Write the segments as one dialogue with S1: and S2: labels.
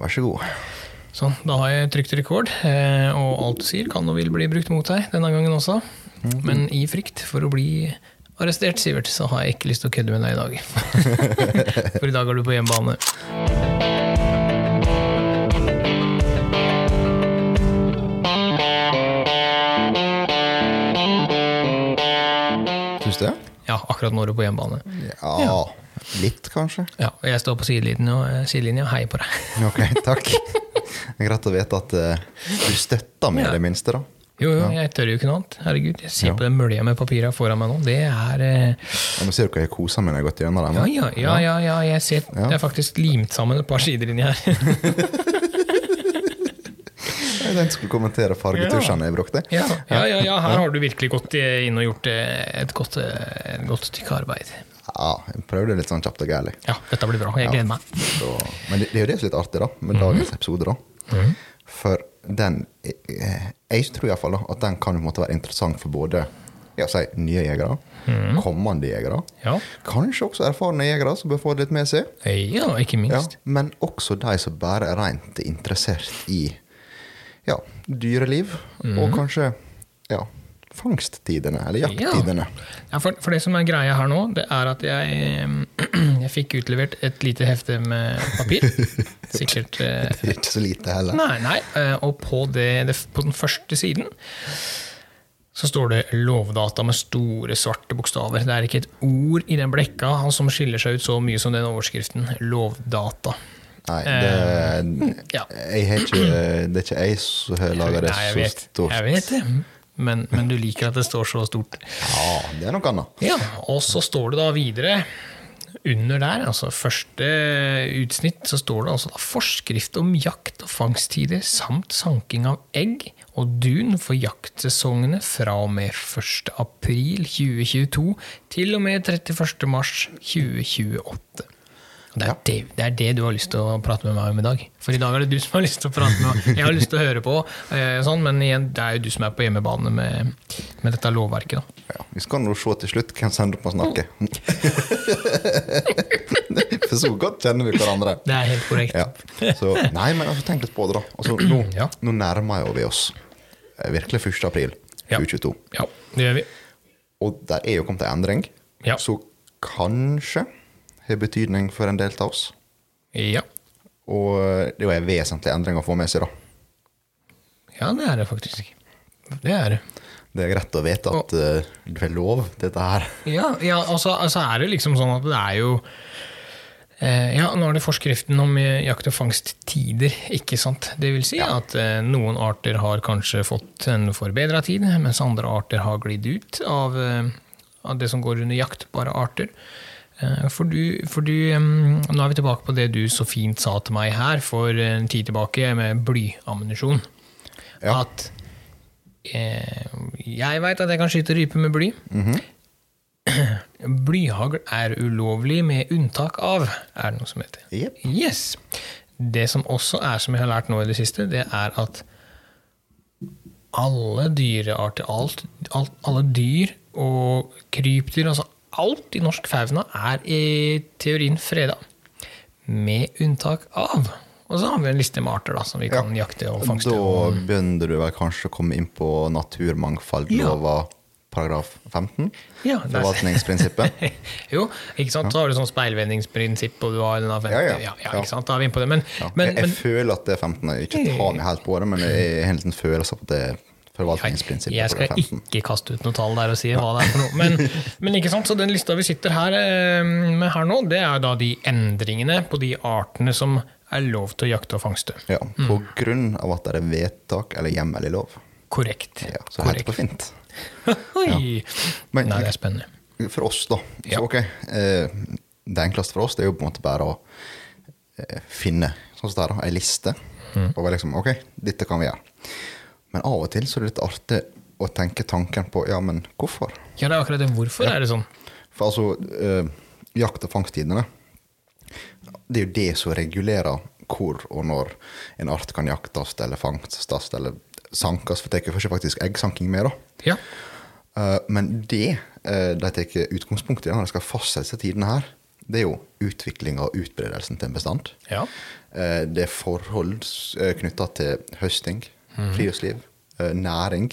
S1: Vær så god.
S2: Sånn, da har jeg trykt rekord, eh, og alt du sier kan og vil bli brukt mot deg denne gangen også.
S1: Mhm.
S2: Men i frykt for å bli arrestert, Sivert, så har jeg ikke lyst til å kødde med deg i dag. for i dag er du på hjemmebane.
S1: Syns du det?
S2: Ja, akkurat nå er du på hjemmebane.
S1: Ja, Litt, kanskje.
S2: Ja, og jeg står på sidelinja og eh, sidelinja og heier på deg.
S1: Ok, takk. Det er greit å vite at eh, du støtter meg, i det minste. da.
S2: Jo, jo, jeg tør jo ikke noe annet. Herregud, jeg ser
S1: Ja.
S2: på den mølja med papira foran meg nå. Det er eh,
S1: Og Nå ser du hva jeg koser meg når jeg har gått gjennom den.
S2: Ja, ja, ja, ja, ja jeg ser
S1: Ja.
S2: Det er faktisk limt sammen et par sider inni her.
S1: Jeg tenkte jeg skulle kommentere fargetusjene jeg brukte.
S2: ja, ja, ja, ja, her har du virkelig gått eh, inn og gjort eh, et godt, eh, et godt stykke arbeid.
S1: Ja, jeg prøvde litt sånn kjapt og gærlig.
S2: Ja, dette blir bra. Jeg gleder meg.
S1: Så, men det, det er jo det som er litt artig da, med dagens episode. da. For den eh, Jeg tror iallfall at den kan på en måte være interessant for både ja, si, nye jegere, kommende jegere,
S2: Ja.
S1: kanskje også erfarne jegere som bør få det litt med seg.
S2: ja, ikke
S1: Ja,
S2: minst.
S1: men også de som bare er rent interessert i ja, dyreliv, og kanskje ja, fangsttidene, eller jakttidene.
S2: Mhm. Ja. for, for det som er greia her nå, det er at jeg, eh, jeg fikk utlevert et lite hefte med papir. Sikkert eh,
S1: Det er ikke så lite heller.
S2: Nei, nei. eh, Og på, det, det, på den første siden så står det 'Lovdata' med store, svarte bokstaver. Det er ikke et ord i den blekka som skiller seg ut så mye som den overskriften. 'Lovdata'.
S1: Nei, det,
S2: ja.
S1: jeg har ikke, det er ikke jeg som har laga det
S2: Nei, jeg
S1: så
S2: vet,
S1: stort.
S2: Jeg vet det. Men, men du liker at det står så stort.
S1: Ja, det er noe annet.
S2: Ja, og så står det da videre under der, altså første utsnitt, så står det altså da forskrift om jakt og fangsttider samt sanking av egg og dun for jaktsesongene fra og med 1. april 2022 til og med 31. mars 2028. Og Det er, det, det er det du har lyst til å prate med meg om i dag. For i dag er det du som har lyst til å prate med meg. Jeg har lyst til å høre på, eh, sånn, men igjen, det er jo du som er på hjemmebane med, med dette lovverket. da.
S1: Ja, vi skal nå se til slutt hvem som ender opp med å snakke. For så godt kjenner vi hverandre.
S2: Det er helt korrekt.
S1: Ja. Så, nei, men altså, tenk litt på det, da. Altså, nå,
S2: Ja.
S1: nå nærmer jo vi oss eh, virkelig 1. april
S2: Ja.
S1: 2022.
S2: Ja, det gjør vi.
S1: Og der er jo kommet en endring,
S2: Ja.
S1: så kanskje har betydning for en del av oss.
S2: Ja,
S1: Og eh, det er jo en vesentlig endring å få med seg, da.
S2: ja det er det faktisk. Det er det.
S1: Det er greit å vite at eh, det er lov, dette her.
S2: Ja, ja og så og så er det liksom sånn at det er jo eh, Ja, nå er det forskriften om eh, jakt- og fangsttider, ikke sant? Det vil si at eh, noen arter har kanskje fått en forbedra tid, mens andre arter har glidd ut av, eh, av det som går under jaktbare arter. Eh, For du, for du eh, Nå er vi tilbake på det du så fint sa til meg her for en tid tilbake, med blyammunisjon.
S1: Ja.
S2: At eh, Jeg veit at jeg kan skyte rype med bly.
S1: Mhm.
S2: Blyhagl er ulovlig med unntak av, er det noe som heter.
S1: Jepp.
S2: Yes. Det som også er, som jeg har lært nå i det siste, det er at alle dyrearter, alt, alt, alle dyr og krypdyr, altså alt i norsk fauna, er i teorien freda. Med unntak av. Og så har vi en liste med arter da, som vi kan jakte og fangste.
S1: Da begynner du vel kanskje å komme inn på naturmangfoldlova paragraf 15?
S2: Ja, der-
S1: Forvaltningsprinsippet?
S2: jo, ikke sant? Så har du sånn speilvendingsprinsipp, og du har den av 50,
S1: Ja,
S2: ja,
S1: ja.
S2: ja,
S1: Ja.
S2: ikke sant? Da er vi inne på det. Men,
S1: Ja.
S2: men,
S1: jeg, jeg
S2: men
S1: føler at det er 15. Jeg ikke tar meg helt på det, men jeg har en liten følelse av at det er forvaltningsprinsippet.
S2: jeg skal
S1: paragraf 15.
S2: ikke kaste ut noe tall der og si hva det er for noe. Men, men ikke sant, så den lista vi sitter her eh, med her nå, det er da de endringene på de artene som er lov til å jakte og fangste.
S1: Ja, på
S2: Mm.
S1: grunn av at det er vedtak eller hjemmel i lov.
S2: Korrekt.
S1: Ja, så helt
S2: Korrekt.
S1: på fint.
S2: Oi!
S1: Men-
S2: Nei, det er spennende.
S1: For oss, da.
S2: Ja.
S1: Så ok, eh, det enkleste for oss det er jo på en måte bare å eh, finne sånn som det er, da, ei liste.
S2: Mm.
S1: Og være liksom Ok, dette kan vi gjøre. Men av og til så er det litt artig å tenke tanken på ja, men hvorfor?
S2: Ja, det er akkurat det. Hvorfor er det sånn?
S1: For altså, eh, jakt- og fangsttidene, det er jo det som regulerer hvor og når en art kan jaktes eller fangstes eller sankes. For det er ikke faktisk eggsanking med, da.
S2: Ja.
S1: Eh, Men det eh, de tar utgangspunkt i når de skal fastsette disse tidene her, det er jo utviklinga og utbredelsen til en bestand.
S2: Ja.
S1: Eh, Det er forhold knytta til høsting, friluftsliv, eh, næring,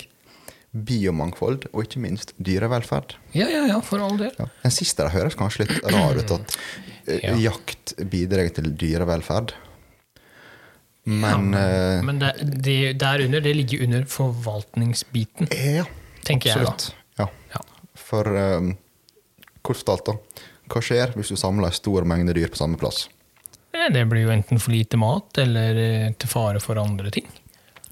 S1: biomangfold og ikke minst dyrevelferd.
S2: ja, ja, ja, for all del.
S1: Ja. Den siste der høres kanskje litt rar ut, at eh,
S2: Ja.
S1: jakt bidrar til dyrevelferd. Men eh,
S2: Men det, det der under, det ligger under forvaltningsbiten.
S1: eh, Ja,
S2: Tenker jeg,
S1: absolutt. Ja.
S2: Ja.
S1: For eh, kort fortalt, da. Hva skjer hvis du samler en stor mengde dyr på samme plass?
S2: Eh, Det blir jo enten for lite mat eller eh, til fare for andre ting.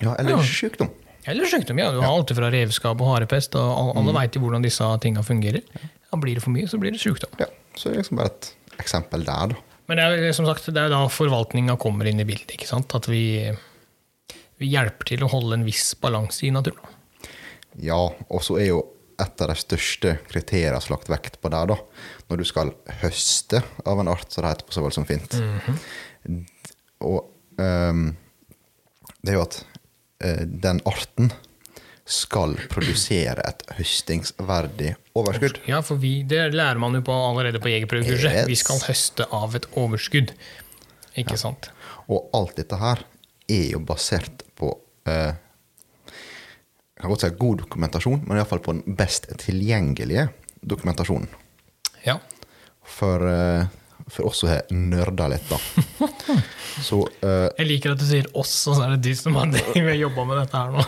S1: Ja, eller
S2: Ja.
S1: sykdom.
S2: Eller sykdom, ja. Du har alltid fra revskap og harepest, og al- alle vet veit jo hvordan disse tinga fungerer. Ja, blir det for mye, så blir det sykdom.
S1: Ja, så det er liksom bare et eksempel der, da.
S2: Men det er, jo, som sagt, det er jo da forvaltninga kommer inn i bildet. ikke sant? At vi, vi hjelper til å holde en viss balanse i naturen.
S1: Ja, og så er jo et av de største kriteriene som er lagt vekt på der, da, når du skal høste av en art, som det heter på så vel som fint. Og ehm, det er jo at eh, den arten skal produsere et høstingsverdig overskudd.
S2: Ja, for vi, Det lærer man jo på allerede på jegerprøvekurset.
S1: Yes.
S2: Vi skal høste av et overskudd. Ikke sant?
S1: Og alt dette her er jo basert på eh, jeg kan godt si god dokumentasjon, men iallfall på den best tilgjengelige dokumentasjonen.
S2: Ja.
S1: For, eh, for oss som har nerda litt, da. Så eh,
S2: Jeg liker at du sier 'oss', og så er det de som har jobba med dette her nå.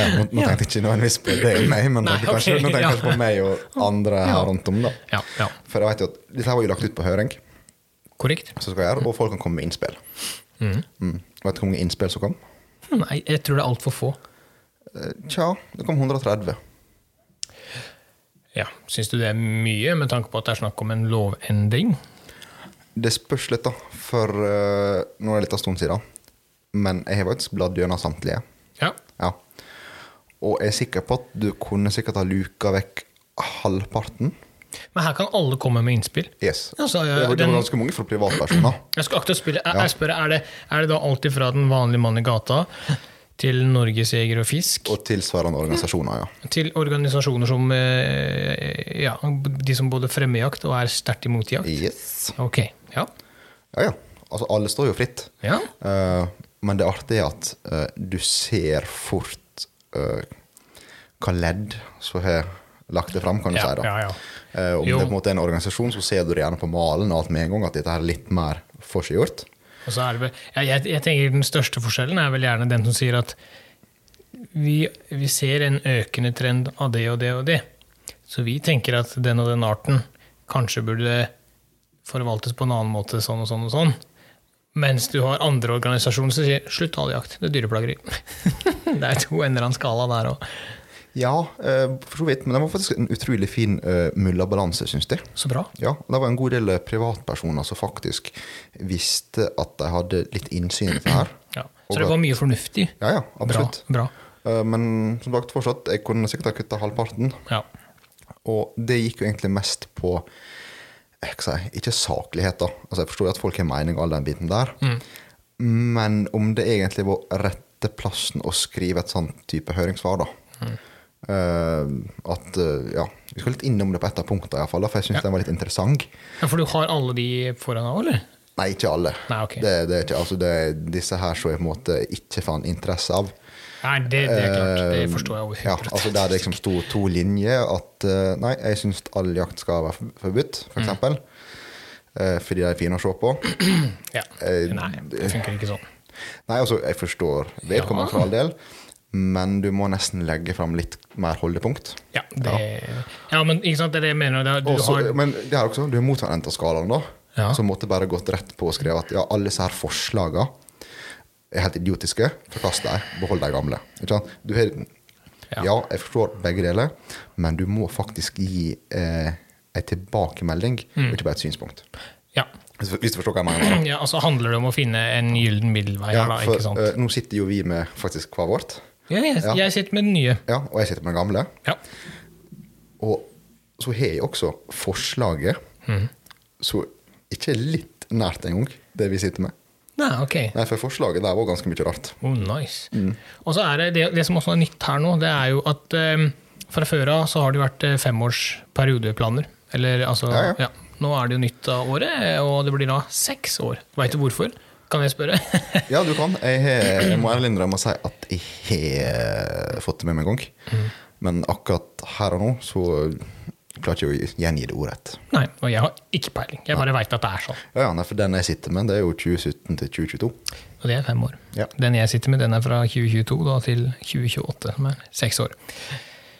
S1: eh, nå, nå tenkte jeg ikke nødvendigvis på deg og meg, men
S2: Nei,
S1: tenkte kanskje,
S2: ok,
S1: nå tenkte jeg
S2: ja.
S1: kanskje på meg og andre her rundt om, da.
S2: Ja, ja.
S1: For jeg vet jo at dette her var jo lagt ut på høring,
S2: Korrekt?
S1: så skal jeg gjøre, og folk kan komme med innspill. Mm. Vet du hvor mange innspill som kom?
S2: Nei, jeg tror det er altfor få.
S1: Eh, Tja, det kom 130.
S2: Ja, Syns du det er mye, med tanke på at det er snakk om en lovendring?
S1: Det spørs litt, da. For eh, nå er det litt av stund siden. Men jeg har faktisk bladd gjennom samtlige.
S2: Ja.
S1: Ja. Og jeg er sikker på at du kunne sikkert ha luka vekk halvparten.
S2: Men her kan alle komme med innspill.
S1: Yes.
S2: Ja, så, eh,
S1: det, var, det
S2: den-
S1: var ganske mange fra privatpersoner.
S2: Jeg skal akte å spille. Jeg, jeg spør, er det, er det da alltid fra den vanlige mann i gata til Norges Jeger og Fisk,
S1: Og tilsvarende organisasjoner, ja.
S2: til organisasjoner som eh, ja, de som både fremmer jakt og er sterkt imot jakt?
S1: Yes.
S2: Ok, ja.
S1: Ja, ja. Altså, alle står jo fritt.
S2: ja.
S1: Eh, men det artige er at eh, du ser fort eh, hva ledd som har lagt det fram, kan du
S2: Ja,
S1: si. da.
S2: ja, ja.
S1: Eh, om
S2: Jo.
S1: det på en måte er en organisasjon, så ser du det gjerne på malen og alt med en gang at dette her er litt mer forseggjort.
S2: Og så er det, vel- ja, jeg, jeg tenker Den største forskjellen er vel gjerne den som sier at vi, vi ser en økende trend av det og det og det. Så vi tenker at den og den arten kanskje burde forvaltes på en annen måte, sånn og sånn og sånn. Mens du har andre organisasjoner som sier 'slutt all jakt, det er dyreplageri'. det er to ender av en skala der òg.
S1: Ja, eh, for så vidt, men det var faktisk en utrolig fin uh, mullabalanse, syns jeg.
S2: Så bra.
S1: Ja, og det var en god del eh, privatpersoner som faktisk visste at de hadde litt innsyn i dette her.
S2: Ja. Så det var mye fornuftig.
S1: Ja, ja,
S2: Bra.
S1: absolutt.
S2: bra.
S1: Eh, men som sagt, fortsatt, jeg kunne sikkert ha kutta halvparten.
S2: Ja.
S1: Og det gikk jo egentlig mest på jeg skal si, ikke saklighet, da. Altså, jeg forstår jo at folk har mening og all den biten der. Men om det egentlig var rette plassen å skrive et sånt type høringssvar, da. Eh, at eh, Ja. Vi skal litt innom det på ett av punktene, iallfall. For jeg syns den var litt interessant.
S2: ja, For du har alle de foran deg òg, eller?
S1: Nei, ikke alle.
S2: Nei, ok.
S1: det, det er ikke, altså, det er disse her som jeg på en måte ikke fant interesse av. Eh,
S2: Nei, det, det er klart. Det forstår jeg
S1: Ja,
S2: overhodet
S1: altså Der det liksom sto to linjer at eh, nei, jeg syns all jakt skal være forb- forbudt,
S2: Mm.
S1: f.eks. For eksempel. Eh, fordi de er fine å se på.
S2: Ja.
S1: Eh,
S2: Nei, det funker ikke sånn.
S1: Nei, altså, jeg forstår vedkommende
S2: Ja.
S1: for all del, men du må nesten legge fram litt mer holdepunkt.
S2: Ja, det, ja. men ikke sant, det er det jeg mener. Det, er- du
S1: Også,
S2: har,
S1: men det er også, sånn, du er motsatt enden av skalaen, da.
S2: Ja.
S1: Så måtte jeg bare gått rett på og skrevet at ja, alle disse her forslagene er helt idiotiske. Forkast dem, behold de gamle. Ikke sant? Du har,
S2: Ja.
S1: ja. jeg forstår begge deler, men du må faktisk gi eh, en tilbakemelding,
S2: Mm.
S1: og ikke bare et synspunkt.
S2: ja.
S1: Hvis hvis du forstår hva jeg mener. da.
S2: ja, altså handler det om å finne en gyllen middelvei her, da,
S1: for,
S2: ikke sant?
S1: eh, nå sitter jo vi med faktisk hver vårt,
S2: Ja, jeg,
S1: ja.
S2: jeg sitter med den nye.
S1: ja, og jeg sitter med den gamle.
S2: Ja.
S1: Og så har jeg også forslaget,
S2: Mm.
S1: som ikke er litt nært engang, det vi sitter med.
S2: Nei, ok.
S1: Nei, for forslaget der var ganske mye rart.
S2: Oh, nice.
S1: Mm.
S2: Og så er det, det det som også er nytt her nå, det er jo at eh, fra før av så har det jo vært eh, femårsperiodeplaner. Eller altså
S1: Ja,
S2: ja,
S1: ja.
S2: Nå er det jo nytt av året, eh, og det blir da seks år. Veit du hvorfor? Kan jeg spørre?
S1: Ja, du kan. Jeg, har- jeg må ærlig innrømme å si at jeg har fått det med meg en gang. Men akkurat her og nå så klarte jeg ikke å gjengi det ordrett.
S2: Nei, og jeg har ikke peiling. Jeg bare veit at det er sånn.
S1: Ja, ja, nei, for den jeg sitter med, det er jo 2017 til 2022.
S2: Og det er fem år.
S1: Ja.
S2: Den jeg sitter med, den er fra 2022 da, til 2028, som er seks år.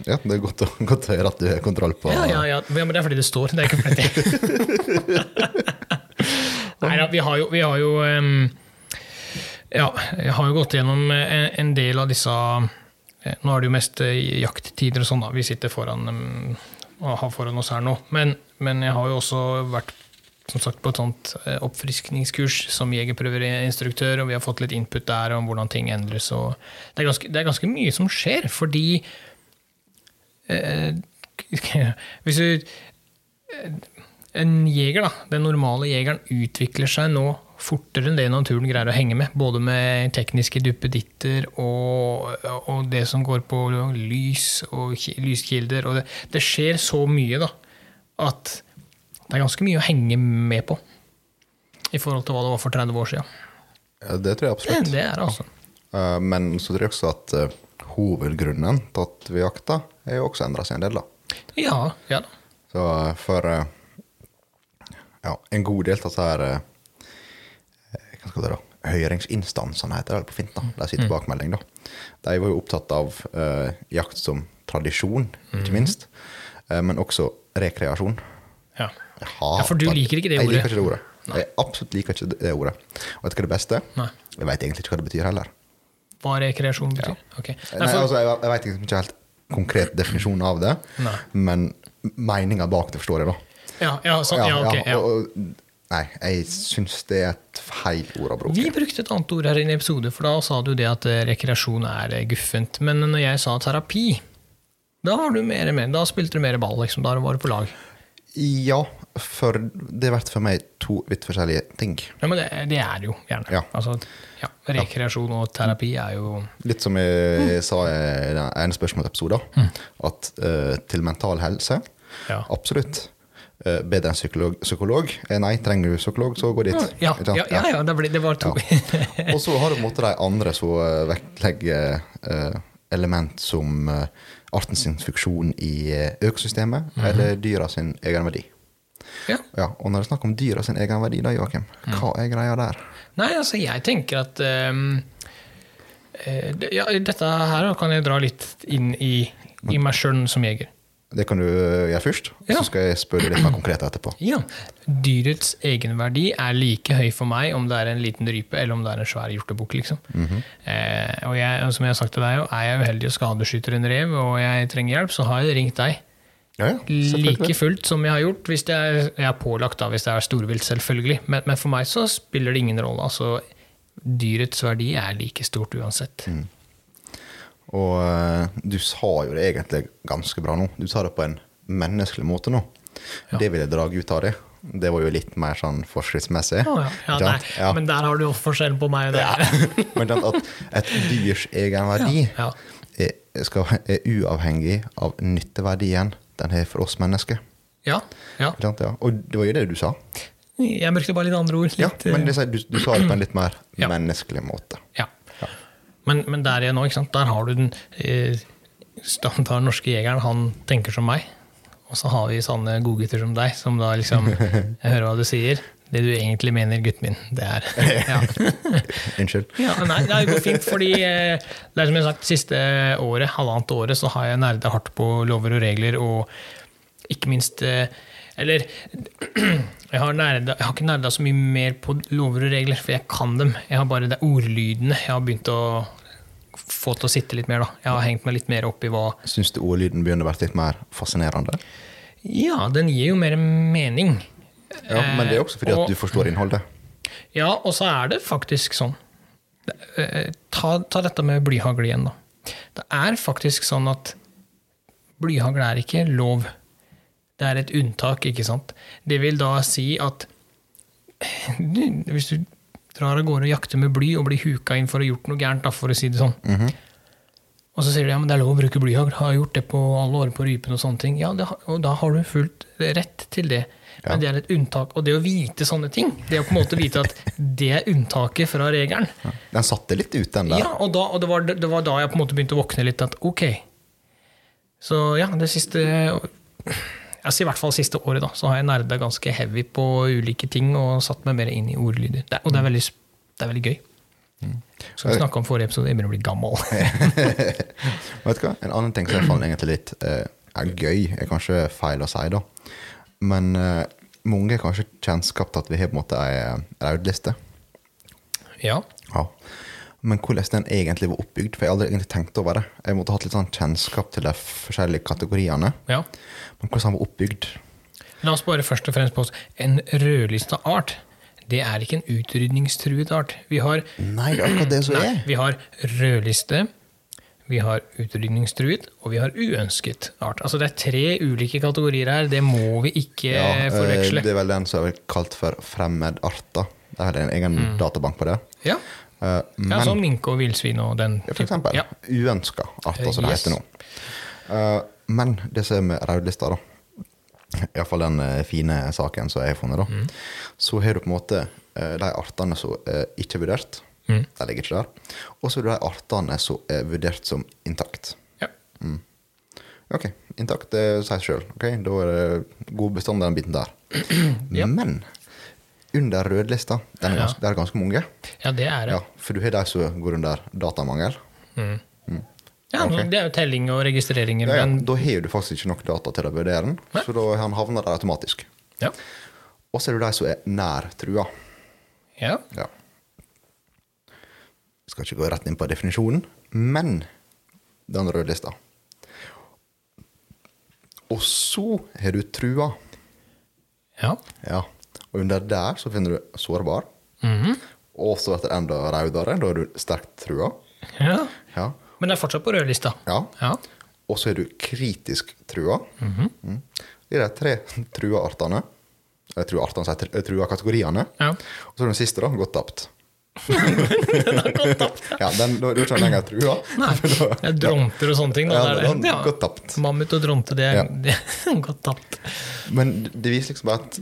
S1: Ja, det er godt å, godt å høre at du har kontroll på
S2: Ja, ja, ja. ja, men det er fordi det står. Det er ikke fordi Nei da, vi har jo, vi har jo em, Ja, jeg har jo gått gjennom eh, en del av disse eh, Nå er det jo mest eh, jakttider og sånn, da. Vi sitter foran em, og har foran oss her nå. Men, men jeg har jo også vært som sagt, på et sånt eh, oppfriskningskurs som jegerprøveinstruktør, og vi har fått litt input der om hvordan ting endres. Og det, er ganske, det er ganske mye som skjer, fordi eh, hvis du eh, En jeger, da, den normale jegeren, utvikler seg nå fortere enn det naturen greier å henge med. Både med tekniske duppeditter og, og det som går på lys og ki- lyskilder. Og det, det skjer så mye, da, at det er ganske mye å henge med på. I forhold til hva det var for 30 år siden.
S1: Ja, Det tror jeg
S2: Det,
S1: absolutt.
S2: det er det, altså.
S1: Eh, Men så tror jeg også at eh, hovedgrunnen til at vi jakter, er jo også endra seg en del, da.
S2: Ja, ja da.
S1: Så eh, for eh, ja, en god del av disse her eh, Hva skal det da? Høringsinstansene, heter det vel på fint.
S2: Mm.
S1: da, De sier tilbakemelding, da. De var jo opptatt av eh, jakt som tradisjon, ikke
S2: Mm.
S1: minst. eh, men også rekreasjon.
S2: Ja.
S1: Jeg
S2: Ja, for du
S1: hater-
S2: liker ikke det
S1: Jeg
S2: ordet.
S1: liker ikke det ordet. Jeg absolutt liker ikke det ordet. Og vet du hva det beste er?
S2: Nei.
S1: Jeg veit egentlig ikke hva det betyr heller.
S2: Hva rekreasjon betyr? Ok.
S1: Nei,
S2: Nei, for,
S1: altså, jeg, jeg veit ikke ikke helt konkret definisjon av det,
S2: Nei.
S1: men meninga bak det forstår jeg, da.
S2: ja, ja, sånn, ja, ok. Ja.
S1: og- og- nei, jeg syns det er et feil ord å bruke.
S2: Vi brukte et annet ord her i en episode, for da sa du det at eh, rekreasjon er eh, guffent. Men når jeg sa terapi, da, var du mer med. da spilte du mer ball, liksom. Da var du på lag.
S1: Ja, for det blir for meg to vidt forskjellige ting.
S2: Ja, men det, det er det jo gjerne.
S1: Ja.
S2: Altså, ja, rekreasjon og terapi er jo
S1: Litt som
S2: Mm.
S1: jeg sa i den ene spørsmålsepisoden, at eh, til mental helse
S2: Ja.
S1: Absolutt. Eh, bedre enn psykolog, psykolog? Eh, Nei, trenger du psykolog, så gå dit.
S2: Mm, Ja,
S1: Ikke sant?
S2: ja, ja, ja det, ble, det var to.
S1: Og så har du på en måte de andre som eh, vektlegger eh, element som eh, arten sin funksjon i eh, økosystemet,
S2: Mm-hmm.
S1: eller dyra sin egenverdi.
S2: ja.
S1: Ja, og når det er snakk om dyra sin egenverdi, da, Joakim,
S2: Mm.
S1: hva er greia der?
S2: Nei, altså jeg tenker at ehm, eh, det- ja, Dette her kan jeg dra litt inn i, i meg sjøl som jeger.
S1: Det kan du eh, gjøre først, og
S2: Ja.
S1: så skal jeg spørre litt mer konkret etterpå.
S2: Ja. Dyrets egenverdi er like høy for meg om det er en liten rype eller om det er en svær hjortebukk. Liksom.
S1: Mhm.
S2: eh, og jeg, og som jeg har sagt til deg, er jeg uheldig og skadeskyter en rev og jeg trenger hjelp, så har jeg ringt deg.
S1: Ja, ja,
S2: Like
S1: selvfølgelig.
S2: fullt som jeg har gjort. Hvis det er, jeg er pålagt da, hvis det er storvilt, selvfølgelig. Men, men for meg så spiller det ingen rolle. Altså, dyrets verdi er like stort uansett.
S1: Mm. Og eh, du sa jo det egentlig ganske bra nå. Du sa det på en menneskelig måte nå. Det vil jeg dra ut av det. Det var jo litt mer sånn forskriftsmessig.
S2: Å, ja. Ja,
S1: ikke
S2: nei,
S1: sant? Ja.
S2: Men der har du jo forskjellen på meg og deg.
S1: Men den at et dyrs egenverdi
S2: Ja,
S1: Er, skal, er uavhengig av nytteverdien den har for oss mennesker.
S2: Ja, ja.
S1: Ikke sant? Ja. Og det var jo det du sa.
S2: Jeg brukte bare litt andre ord. Litt,
S1: Ja, men
S2: eh,
S1: det, du, du sa det på en litt mer
S2: Ja.
S1: menneskelig måte.
S2: Ja. Men, men der er jeg nå, ikke sant? der har du den eh, standard norske jegeren, han tenker som meg. Og så har vi sånne godgutter som deg, som da liksom Jeg hører hva du sier. Det du egentlig mener, gutten min, det er ja.
S1: Unnskyld.
S2: ja, Nei, det går fint, fordi eh, det er som jeg har sagt, siste året, halvannet året, så har jeg nerda hardt på lover og regler, og ikke minst eh, Eller jeg har, nerda, jeg har ikke nerda så mye mer på lover og regler, for jeg kan dem. Jeg har bare det er ordlydene jeg har begynt å få til å sitte litt mer. da. Jeg har hengt meg litt mer opp i hva
S1: Syns du ordlyden begynner å være litt mer fascinerende?
S2: Ja, den gir jo mer mening.
S1: Ja, Men det er også fordi
S2: Eh, og-
S1: at du forstår innholdet.
S2: Ja, og så er det faktisk sånn Eh, Ta, ta dette med blyhagl igjen, da. Det er faktisk sånn at blyhagl er ikke lov. Det er et unntak, ikke sant. Det vil da si at du- hvis du drar av gårde og jakter med bly og blir huka inn for å ha gjort noe gærent, da, for å si det sånn, og Og så sier de ja, men det er lov å bruke blyhagl. Har jeg gjort det på alle år på rypen og sånne ting. Ja, det, har- og da har du fullt rett til det. Men det er et unntak. Og det å vite sånne ting, det å på en måte vite at det er unntaket fra regelen
S1: Den satte litt ut, den der.
S2: Ja, og, da, og det, var, det var da jeg på en måte begynte å våkne litt at ok. Så ja, det siste Jeg sier i hvert fall siste året, da. Så har jeg nerda ganske heavy på ulike ting og satt meg mer inn i ordlyder. Det, og det er veldig, sp- det er veldig gøy. Skal vi snakke om forrige episode? Jeg begynner å bli gammel.
S1: Vet du hva? En annen ting som jeg fant egentlig litt eh, er gøy, er kanskje feil å si, da. Men eh, mange har kanskje kjennskap til at vi har på en måte ei eh, raudliste.
S2: Ja.
S1: Ja. Men hvordan den egentlig var oppbygd, for jeg har aldri egentlig tenkt over det. Jeg måtte hatt litt sånn kjennskap til de forskjellige kategoriene.
S2: ja.
S1: Men hvordan den var oppbygd
S2: La oss bare først og fremst påstå en rødlista art. Det er ikke en utrydningstruet art. Vi har,
S1: Nei, det er akkurat det som
S2: nei,
S1: er.
S2: vi har rødliste, vi har utrydningstruet, og vi har uønsket art. Altså det er tre ulike kategorier her, det må vi ikke
S1: Ja, eh,
S2: forveksle.
S1: det er vel den som er kalt for fremmedarter. Det er vel en egen databank på det.
S2: Ja,
S1: Eh,
S2: Mm. ja
S1: Men
S2: sånn minke og villsvin og den
S1: for
S2: typen.
S1: eksempel
S2: Ja.
S1: uønska arter, som det
S2: Yes.
S1: heter nå. Eh, Men det som er med rødlista, da Iallfall den eh, fine saken som jeg har funnet, da.
S2: Mm.
S1: Så har du på en måte eh, de artene som eh, ikke er vurdert.
S2: Mm.
S1: De ligger ikke der. Og så er det de artene som er vurdert som intakt.
S2: Ja.
S1: Ok, intakt, det sier seg sjøl. da er det god bestand, den biten der. Men under rødlista, den er
S2: Ja.
S1: ganske, det er ganske mange.
S2: ja, det er det.
S1: Ja, for du har de som går under datamangel.
S2: Ja,
S1: Ok.
S2: Det er jo telling og registreringer.
S1: Ja, ja.
S2: Men,
S1: Da har du faktisk ikke nok data til å vurdere den,
S2: Nei.
S1: så da har han havner der automatisk.
S2: ja.
S1: Og så er det de som er nær trua.
S2: Ja.
S1: Ja. Jeg skal ikke gå rett inn på definisjonen, men den rødlista. Og så har du trua.
S2: Ja.
S1: Ja. Og under der så finner du sårbar.
S2: Mhm.
S1: Og så etter enda raudere, da er du sterkt trua.
S2: ja.
S1: Ja.
S2: Men det er fortsatt på rødlista.
S1: ja.
S2: Ja.
S1: Og så er du kritisk trua.
S2: Mhm.
S1: Mm. Det er de tre trua artene. Eller trua artene, sier jeg, trua kategoriene.
S2: Ja.
S1: Og så er den siste, da, gått tapt.
S2: Den har gått opp.
S1: Ja, den, da er du ikke lenger trua.
S2: Nei, det er dronter og sånne ting. Da.
S1: Ja,
S2: Det er-
S1: den har gått tapt.
S2: Mammut og dronte, det er
S1: Ja.
S2: det er gått tapt.
S1: Men det viser liksom bare at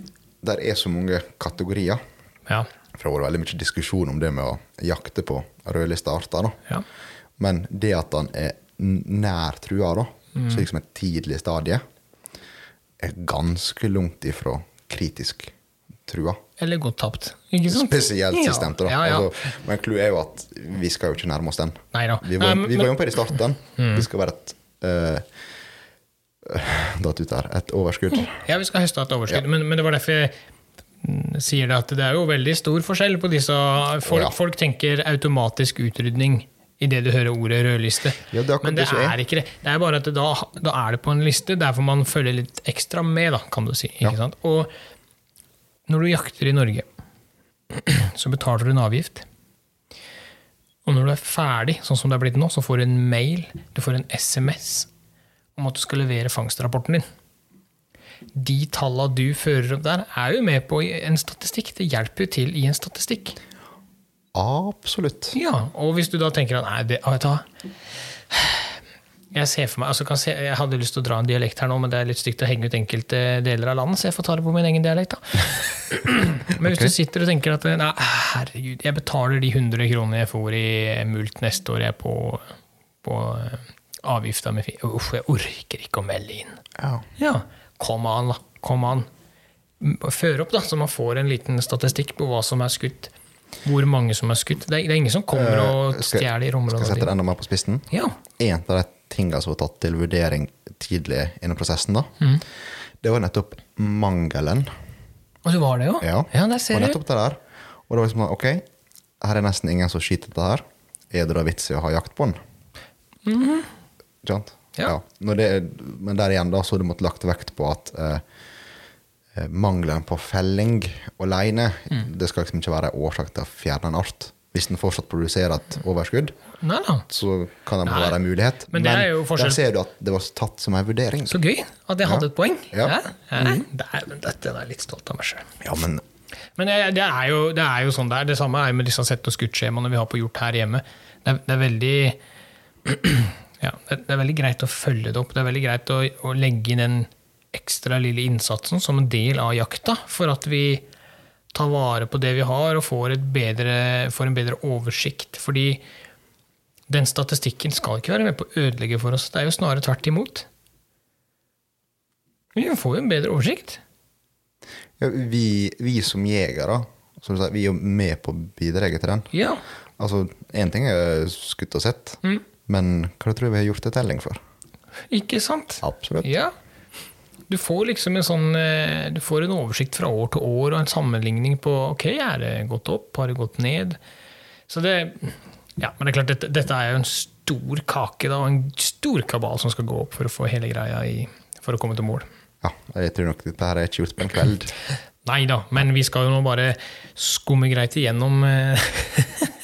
S1: der er så mange kategorier.
S2: Ja.
S1: For det har vært veldig mye diskusjon om det med å jakte på rødlista arter. da.
S2: ja.
S1: Men det at han er n- nær trua, da,
S2: Mm.
S1: så liksom et tidlig stadie, er ganske langt ifra kritisk trua.
S2: Eller gått tapt. Ikke sant?
S1: Spesielt
S2: Ja.
S1: sistemte, da.
S2: Ja, ja.
S1: Altså, men clouet er jo at vi skal jo ikke nærme oss den.
S2: Neida.
S1: Vi var,
S2: Nei, men- Mm.
S1: vi var jo på det i starten. Det skal være et eh, datt ut der, et overskudd.
S2: ja, vi skal høste et overskudd. Men, men det var derfor jeg mm, sier det at det er jo veldig stor forskjell på disse. Folk,
S1: Ja.
S2: folk tenker automatisk utrydning idet du hører ordet rødliste.
S1: Ja, det er akkurat
S2: men det
S1: det som er.
S2: er ikke det. Det er bare at det da, da er det på en liste. Derfor man følger litt ekstra med, da, kan du si. Ikke sant? Og når du jakter i Norge, så betaler du en avgift. Og når du er ferdig, sånn som det er blitt nå, så får du en mail, du får en SMS om at du skal levere fangstrapporten din. De tallene du fører opp der, er jo med på i en statistikk. Det hjelper jo til i en statistikk.
S1: Absolutt.
S2: Ja, og hvis du da tenker at nei, det, vet du hva jeg ser for meg, altså kan se, jeg hadde lyst til å dra en dialekt her nå, men det er litt stygt å henge ut enkelte deler av landet, så jeg får ta det på min egen dialekt. da. Men hvis du sitter og tenker at nei, herregud, jeg betaler de 100 kronene jeg får i mult neste år jeg er på, på eh, avgifta med fi- Uff, jeg orker ikke å melde inn.
S1: Ja.
S2: Ja, kom an, da. Kom an. M- Før opp, da, så man får en liten statistikk på hva som er skutt. Hvor mange som er skutt. Det er, det er ingen som kommer og
S1: Eh, Skal-
S2: stjeler i
S1: Skal jeg sette det
S2: området.
S1: enda mer på spissen?
S2: Ja.
S1: En av de tingene som var tatt til vurdering tidlig innen prosessen, da,
S2: Mhm.
S1: det var nettopp mangelen.
S2: Og så var det jo.
S1: Ja,
S2: der
S1: og
S2: ser du.
S1: nettopp det der. Og det var liksom sånn, ok, her er nesten ingen som skyter dette her. Er det da vits i å ha jakt på den? Ikke sant?
S2: Mhm. Ja.
S1: Når det, er- men der igjen da, så har du måttet lagt vekt på at eh, eh, mangelen på felling alene,
S2: Mm.
S1: det skal liksom ikke være en årsak til å fjerne en art. Hvis den fortsatt produserer et overskudd,
S2: Nei da.
S1: så kan det bare
S2: Nei.
S1: være en mulighet.
S2: Men det er jo forskjell-
S1: der ser du at det var tatt som en vurdering.
S2: Så gøy at jeg hadde et poeng.
S1: Ja. Mm.
S2: Ja. Dæven, dette er jeg litt stolt av meg sjøl.
S1: Ja, men
S2: Men det, det, er jo, det er jo sånn det er. Det samme er jo med disse sett- og skuddskjemaene vi har på gjort her hjemme. Det er, det er veldig Ja, det, det er veldig greit å følge det opp. Det er veldig greit å, å legge inn den ekstra lille innsatsen som en del av jakta, for at vi tar vare på det vi har og får, et bedre, får en bedre oversikt. Fordi den statistikken skal ikke være med på å ødelegge for oss. Det er jo snarere tvert imot. Vi får jo en bedre oversikt.
S1: Ja, vi, vi som jegere, som du sier, vi er jo med på å bidra til den.
S2: Ja.
S1: Altså, én ting er skutt og sett,
S2: Mm.
S1: men hva tror du vi har gjort en telling for?
S2: Ikke sant?
S1: Absolutt.
S2: Ja. Du får liksom en sånn eh, Du får en oversikt fra år til år og en sammenligning på ok, er det gått opp, har det gått ned? Så det Ja, men det er klart, dette, dette er jo en stor kake da, og en stor kabal som skal gå opp for å få hele greia i For å komme til mål.
S1: Ja, jeg tror nok dette her er ikke gjort på en kveld.
S2: Nei da, men vi skal jo nå bare skumme greit igjennom eh,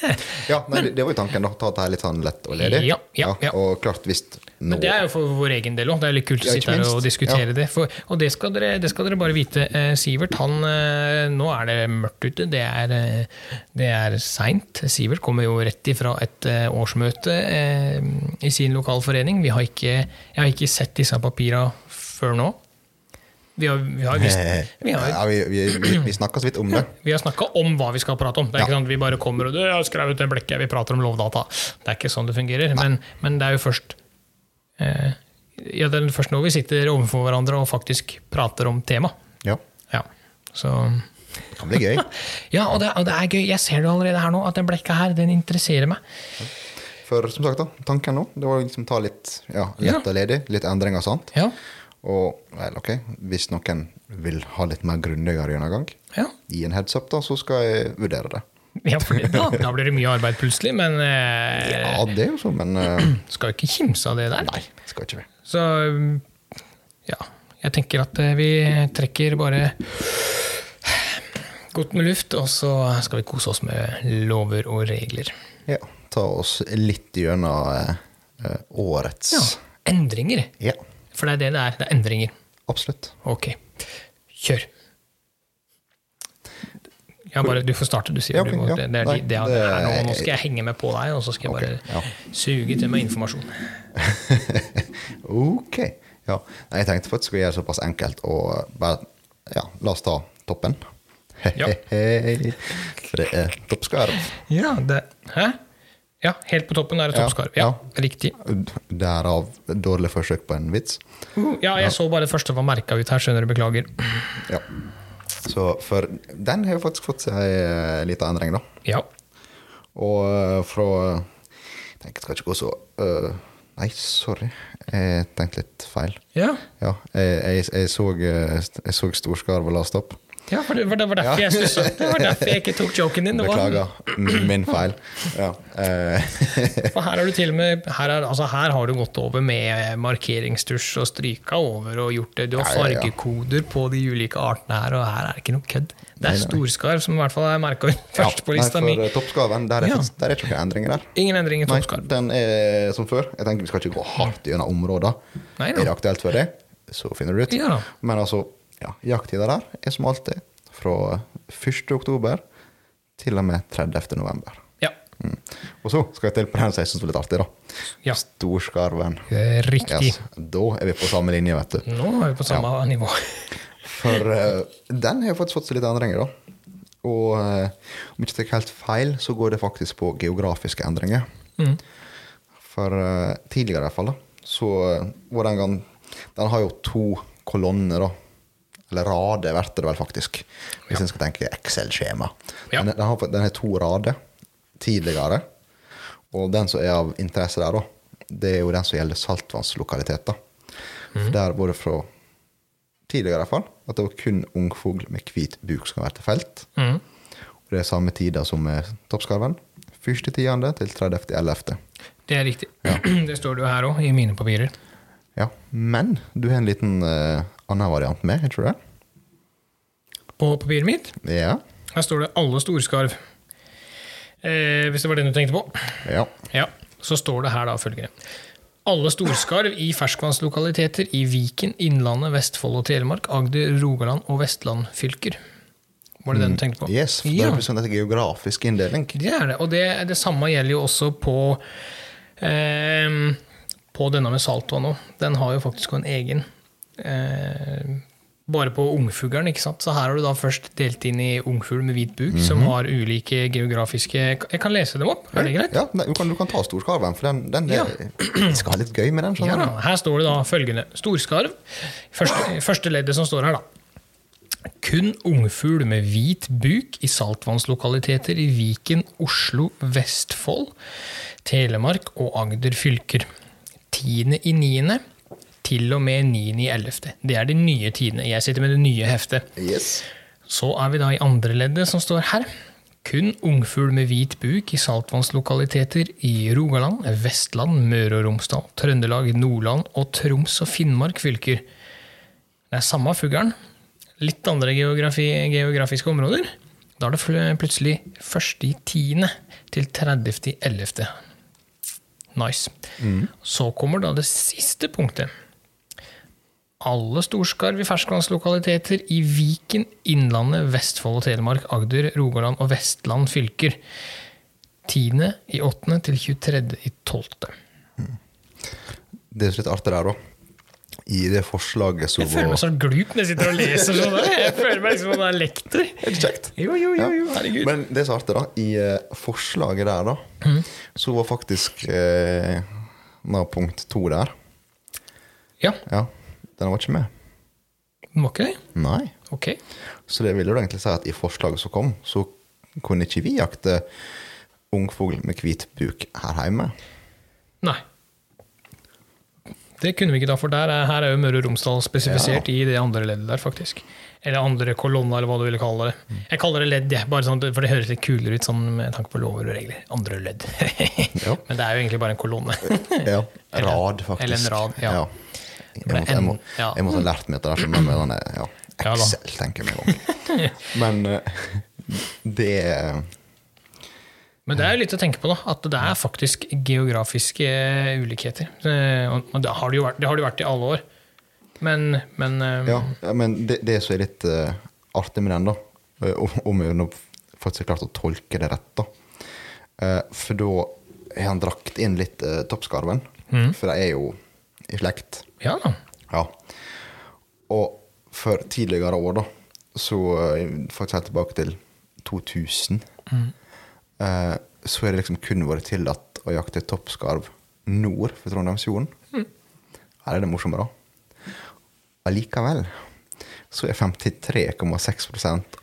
S1: Ja, nei, det- Det var jo tanken, da. Ta dette her litt sånn lett og ledig.
S2: Ja, ja, ja.
S1: Og klart visst nå.
S2: Men det er jo for vår egen del òg. Det er litt kult å
S1: Ja,
S2: sitte
S1: ikke
S2: her og
S1: minst.
S2: diskutere det. For, og det skal, dere, det skal dere bare vite. Eh, Sivert, han eh, Nå er det mørkt ute. Det er, eh, det er seint. Sivert kommer jo rett ifra et eh, årsmøte eh, i sin lokalforening. Vi har ikke, jeg har ikke sett disse papira før nå. Vi har, vi har, visst, vi har,
S1: Ja, vi, vi, vi, vi snakka så vidt om det.
S2: vi har snakka om hva vi skal prate om. Det er ikke sånn at vi bare kommer og du, jeg har skrevet det blekket, vi prater om lovdata. Det er ikke sånn det fungerer. Men, men det er jo først eh, ja, det er først nå vi sitter overfor hverandre og faktisk prater om tema.
S1: Ja,
S2: Ja, så...
S1: det kan bli gøy.
S2: ja og, det, og det er gøy. Jeg ser det allerede her nå, at den blekka her, den interesserer meg.
S1: For som sagt, da, tanken nå det var liksom ta litt ja, lett og ledig, litt endringer og sånt.
S2: Ja,
S1: Og vel, ok, hvis noen vil ha litt mer grundigere gjennomgang,
S2: ja.
S1: gi en heads up, da, så skal jeg vurdere det.
S2: ja for det, da, da blir det mye arbeid plutselig, men eh,
S1: Ja, det er jo sånn, men eh,
S2: skal jo ikke kimse av det der.
S1: nei, skal ikke vi.
S2: Så um, ja, jeg tenker at eh, vi trekker bare godt med luft, og så skal vi kose oss med lover og regler.
S1: Ja, ta oss litt gjennom eh, eh, årets
S2: Ja, endringer.
S1: Ja,
S2: For det er det det er. Det er endringer.
S1: absolutt.
S2: Ok, kjør. Ja, bare Du får starte, du sier.
S1: Ja, ok,
S2: du må-
S1: ja.
S2: Det, det er,
S1: Nei,
S2: de- det er,
S1: det er-
S2: her nå, nå skal jeg henge med på deg, og så skal jeg bare
S1: ja.
S2: suge til meg informasjon.
S1: Ok. Ja, nei, jeg tenkte faktisk å gjøre det såpass enkelt og bare Ja, la oss ta toppen.
S2: Ja.
S1: For det er toppskarv.
S2: Ja, det, hæ? Ja, helt på toppen er det
S1: Ja,
S2: toppskarv. Ja, Riktig.
S1: Derav dårlig forsøk på en vits.
S2: Ja, jeg så bare det første var merka ut her, skjønner du. Beklager.
S1: Ja. Så for den har jo faktisk fått seg eh, lita endring, da.
S2: Ja.
S1: Og eh, fra Jeg tenker jeg skal ikke gå så eh, Nei, sorry. Jeg tenkte litt feil.
S2: Ja,
S1: Ja, jeg, jeg, jeg, så, eh, jeg så storskarv og last opp.
S2: ja for det var, det var derfor jeg stussa. Det var derfor jeg ikke tok joken din. Det var,
S1: Beklager. Min feil. Ja. eh,
S2: for her har du til og med her, er, altså her har du gått over med eh, markeringstusj og stryka over og gjort det. Du har
S1: Ja, ja, ja.
S2: fargekoder på de ulike artene her, og her er det ikke noe kødd. Det er storskarv som i hvert fall er merka først på lista
S1: nei,
S2: mi.
S1: for eh, toppskarven, der er,
S2: Ja.
S1: faktisk- der er ikke noen endringer der.
S2: Ingen endring i
S1: Nei,
S2: toppskarv.
S1: den er som før. Jeg tenker Vi skal ikke gå hardt gjennom områder.
S2: Nei,
S1: Er
S2: da.
S1: det aktuelt for deg, så finner du det ut.
S2: Ja, da.
S1: Men altså, ja, jakttida der er som alltid fra 1. oktober til og med 30. november.
S2: Ja.
S1: Mm. Og så skal jeg til på den som jeg syns var litt artig, da.
S2: Ja.
S1: Storskarven.
S2: Eh, Riktig.
S1: Yes. Da er vi på samme linje, vet du.
S2: Nå er vi på samme nivå.
S1: For eh, den har jo faktisk fått seg litt endringer, da. Og eh, om jeg ikke tar helt feil, så går det faktisk på geografiske endringer. For eh, tidligere i hvert fall, da, så eh, var den gang Den har jo to kolonner, da. Eller rader, blir det vel faktisk. Hvis en skal tenke Excel-skjema.
S2: Ja.
S1: Den, den, har, fått- den har to rader tidligere. Og den som er av interesse der, da, det er jo den som gjelder saltvannslokaliteter. For Der var det fra tidligere i hvert fall, at det var kun ungfugl med hvit buk som var til felt.
S2: Mm.
S1: Og det er samme tida som med toppskarven. 1.10. til 30.11.
S2: Det er riktig. Det står det jo her òg, i mine papirer.
S1: Ja, men du har en liten eh, annen variant med, er ikke det?
S2: På papiret mitt
S1: Ja.
S2: Her står det 'alle storskarv'. Eh, hvis det var den du tenkte på.
S1: ja.
S2: Ja, Så står det her da følgende. Alle storskarv i ferskvannslokaliteter i Viken, Innlandet, Vestfold og Telemark, Agder, Rogaland og Vestland fylker. Var det den du tenkte
S1: Mm.
S2: på?
S1: Yes, for
S2: ja,
S1: det er sånn at det er geografisk inndeling.
S2: det er det. Og det, det samme gjelder jo også på eh, på denne med saltvann òg. Den har jo faktisk en egen. Eh, bare på ungfuglen, ikke sant. Så her har du da først delt inn i ungfugl med hvit buk, som har ulike geografiske Jeg kan lese dem opp, er det greit?
S1: Ja, nei, du, kan, du kan ta storskarven, for den, den er, jeg skal ha litt gøy med den.
S2: Ja,
S1: skjønner du?
S2: da. sånn her står det da følgende. Storskarv. Første, første leddet som står her, da. Kun ungfugl med hvit buk i saltvannslokaliteter i Viken, Oslo, Vestfold, Telemark og Agder fylker. Tiende i niende, til og med niende i ellevte. Det er de nye tidene. Jeg sitter med det nye heftet.
S1: Yes.
S2: Så er vi da i andre leddet som står her. Kun ungfugl med hvit buk i saltvannslokaliteter i Rogaland, Vestland, Møre og Romsdal, Trøndelag, Nordland og Troms og Finnmark fylker. Det er samme fuglen, litt andre geografi, geografiske områder. Da er det fl- plutselig 1. i 10. til 30. i 11. Nice. Så kommer da det siste punktet alle storskarv i ferskvannslokaliteter i Viken, Innlandet, Vestfold og Telemark, Agder, Rogaland og Vestland fylker. 10. i 8. til 23. i 12.
S1: Det er litt artig der, da. I det forslaget som
S2: Jeg føler meg
S1: var-
S2: sånn glup når jeg sitter og leser sånn. der. Jeg føler meg som om jeg er lekter.
S1: Er det kjekt?
S2: Jo, jo, jo, jo.
S1: Ja.
S2: herregud. Mm.
S1: Men det som er artig, da, i eh, forslaget der, da, så var faktisk eh, nå punkt to der.
S2: Ja,
S1: Ja, den var ikke med.
S2: må ikke det?
S1: Nei.
S2: Ok.
S1: Så det ville jo egentlig si at i forslaget som kom, så kunne ikke vi jakte ungfugl med hvit buk her hjemme.
S2: Nei. Det kunne vi ikke da, for der er, her er jo Møre og Romsdal spesifisert i det andre leddet der, faktisk. Eller andre kolonna, eller hva du ville kalle det. Jeg kaller det ledd, jeg, bare sånn, at- for det høres litt kulere ut sånn med tanke på lover og regler. Andre ledd.
S1: Ja.
S2: Men det er jo egentlig bare en kolonne.
S1: Ja,
S2: Eller-
S1: rad, faktisk.
S2: eller en rad, ja.
S1: Jeg,
S2: ble
S1: måtte, jeg, må,
S2: en- ja.
S1: jeg måtte ha lært meg dette der, men med denne, ja,
S2: Ja da.
S1: Excel tenker jeg meg om. Men eh, det er-
S2: Men det er jo litt å tenke på, da. At det er faktisk geografiske ulikheter. Eh, Og og det har det jo vært, det har det jo vært i alle år. Men, men eh,
S1: Ja, men det, det som er litt eh, artig med den, da, eh, om- om hun har faktisk klart å tolke det rett, da Eh, For da har han drakt inn litt eh, toppskarven, for de er jo i slekt.
S2: ja da.
S1: Ja. Og for tidligere år, da, så eh, faktisk helt tilbake til 2000, eh, så er det liksom kun vært tillatt å jakte toppskarv nord for Trondheimsfjorden. Her er det morsommere, da. Allikevel så er 53,6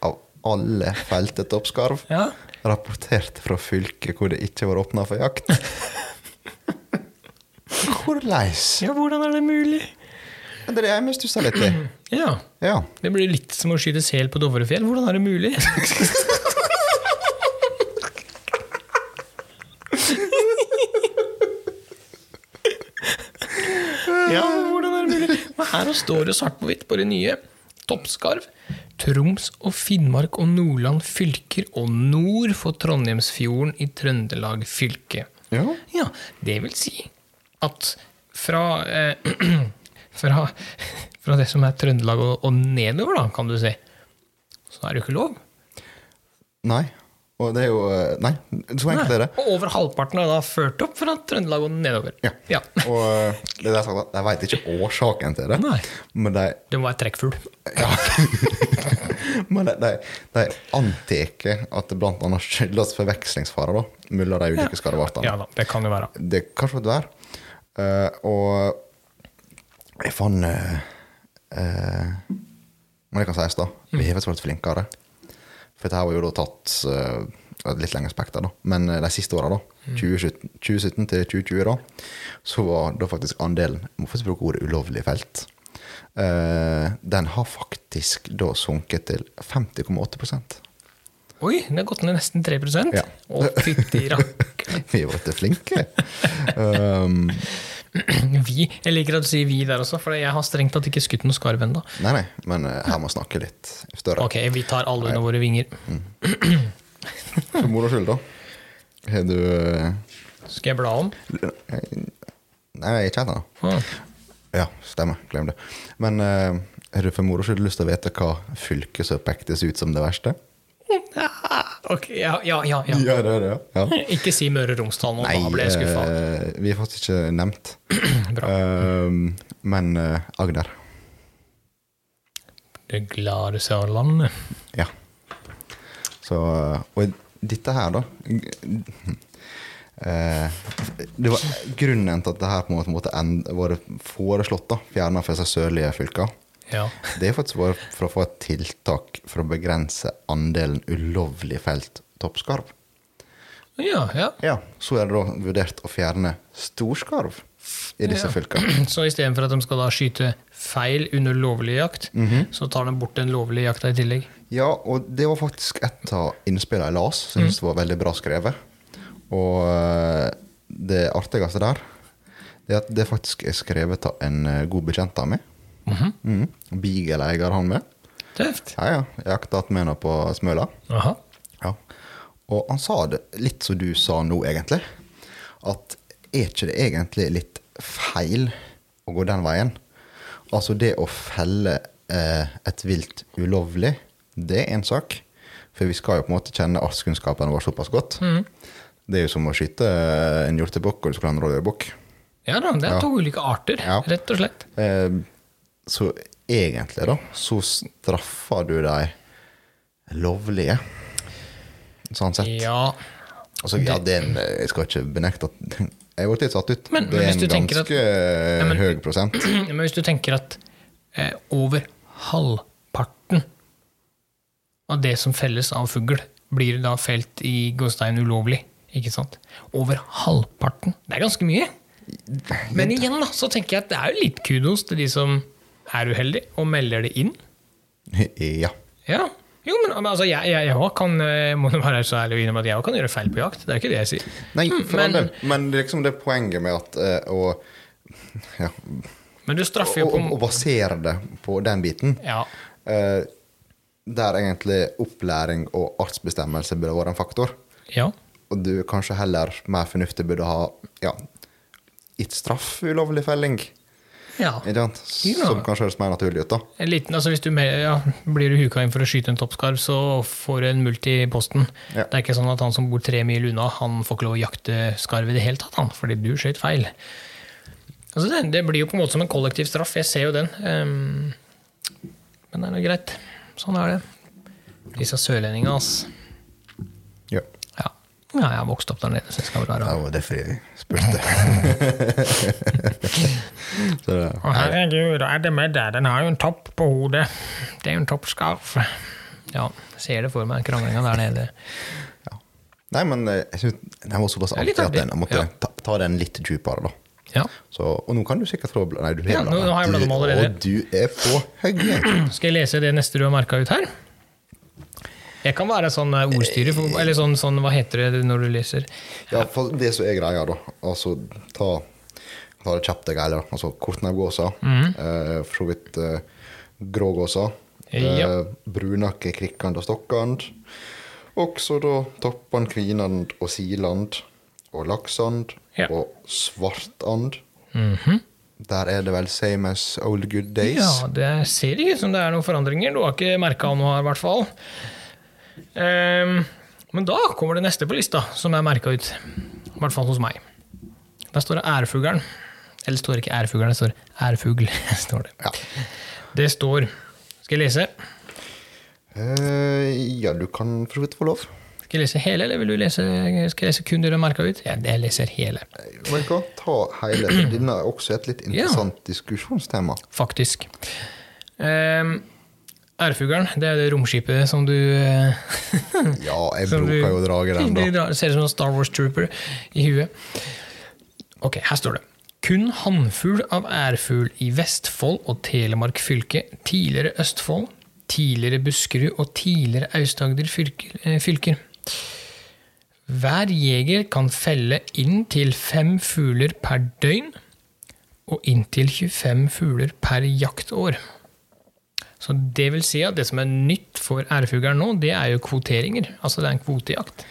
S1: av alle felte toppskarv
S2: Ja.
S1: rapportert fra fylket hvor det ikke var åpna for jakt. Hvordan?
S2: ja, hvordan er det mulig?
S1: Det er det jeg mest stusser litt i.
S2: Ja.
S1: Ja.
S2: Det blir litt som å skyte sel på Dovrefjell. Hvordan er det mulig? ja, hvordan er det mulig? Men her står det svart på hvitt på det nye. Toppskarv. Troms og Finnmark og Nordland fylker og nord for Trondheimsfjorden i Trøndelag fylke.
S1: ja.
S2: Ja, det vil si at fra, eh, fra, fra det som er Trøndelag og, og nedover, da, kan du si, så er det jo ikke lov.
S1: Nei. Og det er jo eh, Nei, så enkelt er det.
S2: Og over halvparten er da ført opp fra Trøndelag og nedover.
S1: Ja. Og eh, det er det jeg sa, de veit ikke årsaken til det,
S2: Nei.
S1: men de,
S2: Det må være trekkfugl.
S1: men de, de, de antar at det bl.a. skyldes forvekslingsfare da, mellom de ulike skarvartene.
S2: Ja da, det kan jo være.
S1: Det kan slå et vær. Eh, og jeg fant eh, eh, Men det kan sies, da. Vi har vært litt flinkere. For dette her var jo da tatt eh, et litt lengre spekter, da. Men eh, de siste åra, da, 2017, 2017 til 2020, da, så var da faktisk andelen jeg Må faktisk bruke ordet ulovlig felt. eh, den har faktisk da sunket til 50,8
S2: Oi, det har gått ned nesten 3
S1: Ja.
S2: Å, fytti rakk.
S1: Vi har blitt flinke. um,
S2: Vi. Jeg liker at du sier vi der også, for jeg har strengt tatt ikke skutt noen skarv ennå.
S1: Nei, nei, men eh, her må vi snakke litt større.
S2: Ok, vi tar alle under våre vinger.
S1: For moro skyld, da. Har du eh,
S2: Skal jeg bla om?
S1: Nei, jeg kjenner det.
S2: Ah.
S1: Ja, stemmer. Glem det. Men eh, har du for moro skyld lyst til å vite hva fylket som pektes ut som det verste?
S2: Ja. Ok, ja, ja, ja, ja.
S1: Ja, det er det. Ja.
S2: Ikke si Møre og Romsdal nå,
S1: Nei,
S2: da ble jeg skuffa.
S1: eh, vi har faktisk ikke nevnt.
S2: Bra.
S1: Eh, men eh, Agder.
S2: Det glade Sørlandet.
S1: Ja. Så eh, Og dette her, da eh, det var Grunnen til at det her på en måte måtte end, var foreslått da, fjerna fra seg sørlige fylker,
S2: Ja.
S1: det er faktisk bare for å få et tiltak for å begrense andelen ulovlig felt toppskarv.
S2: ja, ja.
S1: Ja, Så er det da vurdert å fjerne storskarv i disse
S2: Ja.
S1: fylkene.
S2: Så istedenfor at de skal da skyte feil under lovlig jakt,
S1: Mhm.
S2: så tar de bort den lovlige jakta i tillegg.
S1: Ja, og det var faktisk et av innspillene jeg las, syns det var veldig bra skrevet. Og eh, det artigste der, det er at det faktisk er skrevet av en eh, god bekjent av meg. Mm. Beagle-eier han med.
S2: Tøft.
S1: Ja, ja. Jeg jakta med henne på Smøla.
S2: Aha.
S1: Ja. Og han sa det litt som du sa nå, egentlig. At er ikke det egentlig litt feil å gå den veien? Altså, det å felle eh, et vilt ulovlig, det er en sak. For vi skal jo på en måte kjenne artskunnskapene våre såpass godt. Det er jo som å skyte eh, en hjortebukk og du skal ha en rådyrbukk.
S2: Ja da, det er to ulike arter,
S1: Ja.
S2: rett og slett.
S1: Eh, så egentlig, da, så straffer du de lovlige. Sånn sett.
S2: Ja,
S1: Altså, ja, det er en, jeg skal ikke benekte at Jeg ble litt satt ut.
S2: Men-
S1: det
S2: men
S1: er
S2: hvis
S1: en
S2: du tenker
S1: ganske
S2: at- men-
S1: høy prosent.
S2: men hvis du tenker at eh, over halvparten av det som felles av fugl, blir da felt i gåstein ulovlig, ikke sant? Over halvparten. Det er ganske mye. Men igjen da, så tenker jeg at det er jo litt kudos til de som er uheldige og melder det inn.
S1: Ja.
S2: Ja. Jo, men men altså, jeg, jeg, jeg også kan eh, må nå være så ærlig og innrømme at jeg også kan gjøre feil på jakt. Det er ikke det jeg sier.
S1: Nei, for
S2: Hmm, men-
S1: all del. Men det er liksom det poenget med at eh, å, ja,
S2: Men du straffer
S1: å,
S2: jo på
S1: å- å basere det på den biten,
S2: Ja.
S1: eh, der egentlig opplæring og artsbestemmelse burde vært en faktor,
S2: ja.
S1: og du kanskje heller mer fornuftig burde ha ja, ikke straff ulovlig felling,
S2: ja.
S1: ikke sant?
S2: Ja.
S1: som kanskje høres mer naturlig ut, da.
S2: En liten, altså hvis du med, ja, Blir du huka inn for å skyte en toppskarv, så får du en mulkt i posten.
S1: Ja.
S2: Det er ikke sånn at han som bor tre mil unna, han får ikke lov å jakte skarv i det hele tatt, han, fordi du skjøt feil. Altså det, det blir jo på en måte som en kollektiv straff. Jeg ser jo den. Ehm, men det er nå greit. Sånn er det. Disse sørlendingene, ass.
S1: Ja.
S2: Ja. ja, jeg har vokst opp der nede, så jeg skal vel være
S1: Det var derfor jeg spurte. så det,
S2: Å, herregud, hva er det med deg? Den har jo en topp på hodet. Det er jo en toppskarf. Ja, ser det for meg, kranglinga der nede.
S1: nei, men eh, jeg synes den var såpass
S2: er litt
S1: artig at
S2: artig,
S1: jeg måtte
S2: ja.
S1: ta, ta den litt dypere, da.
S2: Ja.
S1: Så, og nå kan du sikkert få bla- Nei, du har
S2: Ja, nå-
S1: bladet.
S2: nå har jeg bladet
S1: Du-
S2: om allerede.
S1: Og du er på høyden.
S2: Skal jeg lese det neste du har merka ut her? Jeg kan være sånn eh, ordstyrer, for, eller sånn, sånn hva heter det når du leser?
S1: Ja, for det som er greia, da. Altså, ta, ta det kjapt, det greia. da. Altså kortnebbgåser.
S2: Mhm.
S1: eh, for så vidt eh, grågåser.
S2: Ja.
S1: Eh, brunakke, krikkand og stokkand. Også da toppan, kvinand og siland. Og laksand.
S2: Ja. Mhm.
S1: Og svartand. Der er det vel same as old good days.
S2: Ja, det ser ikke ut som det er noen forandringer. Du har ikke merka noe her, i hvert fall. Ehm, men da kommer det neste på lista, som er merka ut. I hvert fall hos meg. Der står det ærfuglen. Eller står det ikke ærfuglen, det står ærfugl. står det.
S1: Ja.
S2: det står Skal jeg lese?
S1: Eh, ja, du kan for så vidt få lov.
S2: Skal jeg lese hele, eller vil du lese, skal jeg lese kun det du har merka ut? Ja, jeg leser hele,
S1: Men hva? Ta hele. Denne er også et litt interessant diskusjonstema.
S2: faktisk. Ehm, Ærfuglen, det er det romskipet som du eh,
S1: Ja, jeg
S2: Som
S1: bruker
S2: du-
S1: jo å drage den, da.
S2: Du drar- ser ut som en Star Wars Trooper i huet. Ok, her står det. Kun hannfugl av ærfugl i Vestfold og Telemark fylke, tidligere Østfold, tidligere Buskerud og tidligere Aust-Agder fylker, eh, fylker. Hver jeger kan felle inntil fem fugler per døgn og inntil 25 fugler per jaktår. Så det vil si at det som er nytt for ærfuglen nå, det er jo kvoteringer. Altså det er en kvotejakt.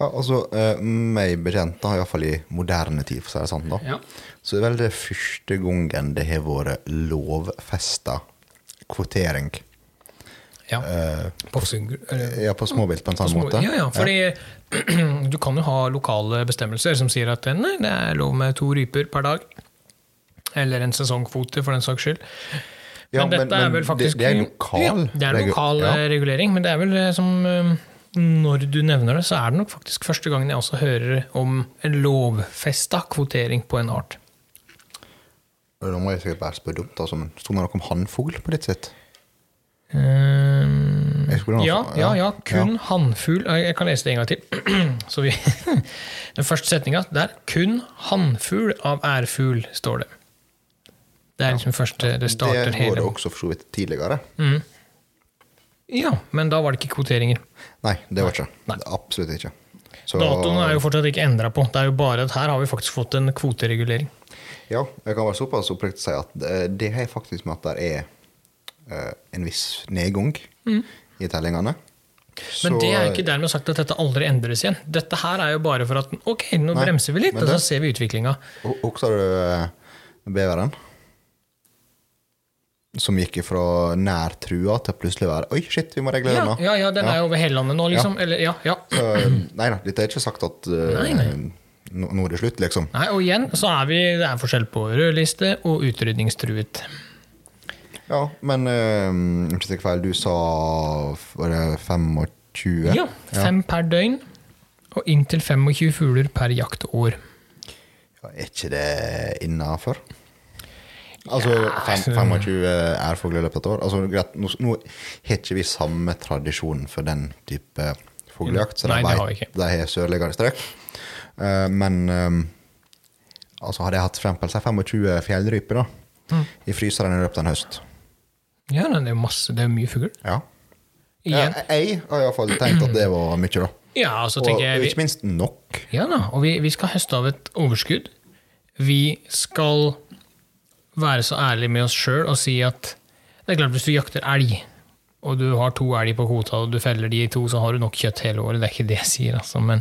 S1: Ja, altså, eh, meg bekjent, da, iallfall i moderne tid, for å si det sånn, da,
S2: Ja.
S1: så er vel det første gangen det har vært lovfesta kvotering
S2: Ja.
S1: eh,
S2: På sugg- eller-
S1: ja, på småvilt på en sånn
S2: små-
S1: måte.
S2: Ja, ja, fordi du kan jo ha lokale bestemmelser som sier at eh, nei, det er lov med to ryper per dag. Eller en sesongkvote, for den saks skyld.
S1: Ja,
S2: men, dette er vel faktisk
S1: det, det er lokal
S2: ja, Det er
S1: regu-
S2: lokal
S1: ja.
S2: eh, regulering, men det er vel eh, som eh, Når du nevner det, så er det nok faktisk første gangen jeg også hører om en lovfesta kvotering på en art.
S1: Nå må jeg sikkert bare spørre dumt, altså, men sto det noe om hannfugl på ditt sitt?
S2: Eh,
S1: Jeg skulle nå-
S2: Ja, ja, ja, kun
S1: altså, Ja.
S2: hannfugl Jeg jeg kan lese det en gang til. Så vi, den første setninga der kun hannfugl av ærfugl, står det. Det er liksom første Det starter
S1: det var det
S2: hele Mm.
S1: også for så vidt tidligere.
S2: Ja, men da var det ikke kvoteringer.
S1: Nei, det var ikke.
S2: Nei.
S1: Absolutt ikke. Så,
S2: Datoen er jo fortsatt ikke endra på. Det er jo bare at her har vi faktisk fått en kvoteregulering.
S1: Ja, jeg kan være såpass oppriktig si at eh, det har jeg faktisk med at det er eh, en viss nedgang i tellingene.
S2: Mm. Men
S1: Så-
S2: det er ikke dermed sagt at dette aldri endres igjen. Dette her er jo bare for at ok, nå
S1: Nei,
S2: bremser vi litt,
S1: men
S2: og så
S1: det-
S2: ser vi utviklinga.
S1: H- Husker du eh, beveren? Som gikk ifra nær trua til plutselig å være Oi, shit, vi må regulere
S2: Ja,
S1: den nå.
S2: ja, ja, den er jo over hele landet nå, liksom. Eller, ja, ja.
S1: Så, eh, Nei da, dette er ikke sagt at eh, nå nå er det slutt, liksom.
S2: Nei, og igjen så er vi, det er forskjell på rødliste og utrydningstruet.
S1: Ja, men eh, om ikke jeg tar feil, du sa Var det 25?
S2: Ja, fem per døgn og inntil 25 fugler per jaktår.
S1: Ja, Er ikke det innafor? Altså fem, 25 ærfugler i løpet av et år? Altså, greit, nå, nå har ikke vi samme tradisjon for den type fuglejakt, så
S2: Nei,
S1: de
S2: det har vi
S1: vet-
S2: ikke.
S1: de har sørligere strøk. Eh, men eh, altså, hadde jeg hatt for eksempel si 25 fjellryper da,
S2: Mm.
S1: i fryseren i løpet av en høst
S2: Ja, nei, det er jo masse, det er jo mye fugl.
S1: ja.
S2: Igjen.
S1: Jeg, jeg har iallfall tenkt at det var mye, da.
S2: Ja, så
S1: Og
S2: tenker jeg vi,
S1: ikke minst nok.
S2: Ja da, og vi, vi skal høste av et overskudd. Vi skal være så ærlige med oss sjøl og si at det er klart hvis du jakter elg, og du har to elg på kvota, og du feller de to, så har du nok kjøtt hele året. Det er ikke det jeg sier, altså. Men,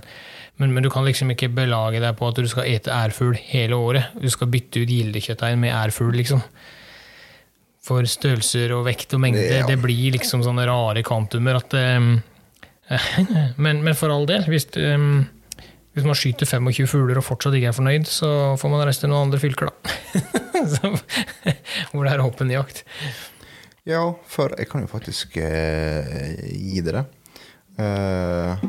S2: men, men du kan liksom ikke belage deg på at du skal ete ærfugl hele året. Du skal bytte ut gildekjøttdeigen med ærfugl, liksom. For størrelser og vekt og mengde,
S1: Ja.
S2: det blir liksom sånne rare kvantumer at ehm, men, men for all del, hvis, ehm, hvis man skyter 25 fugler og fortsatt ikke er fornøyd, så får man reise til noen andre fylker, da. så, hvor det er åpen jakt.
S1: Ja, for jeg kan jo faktisk eh, gi dere eh,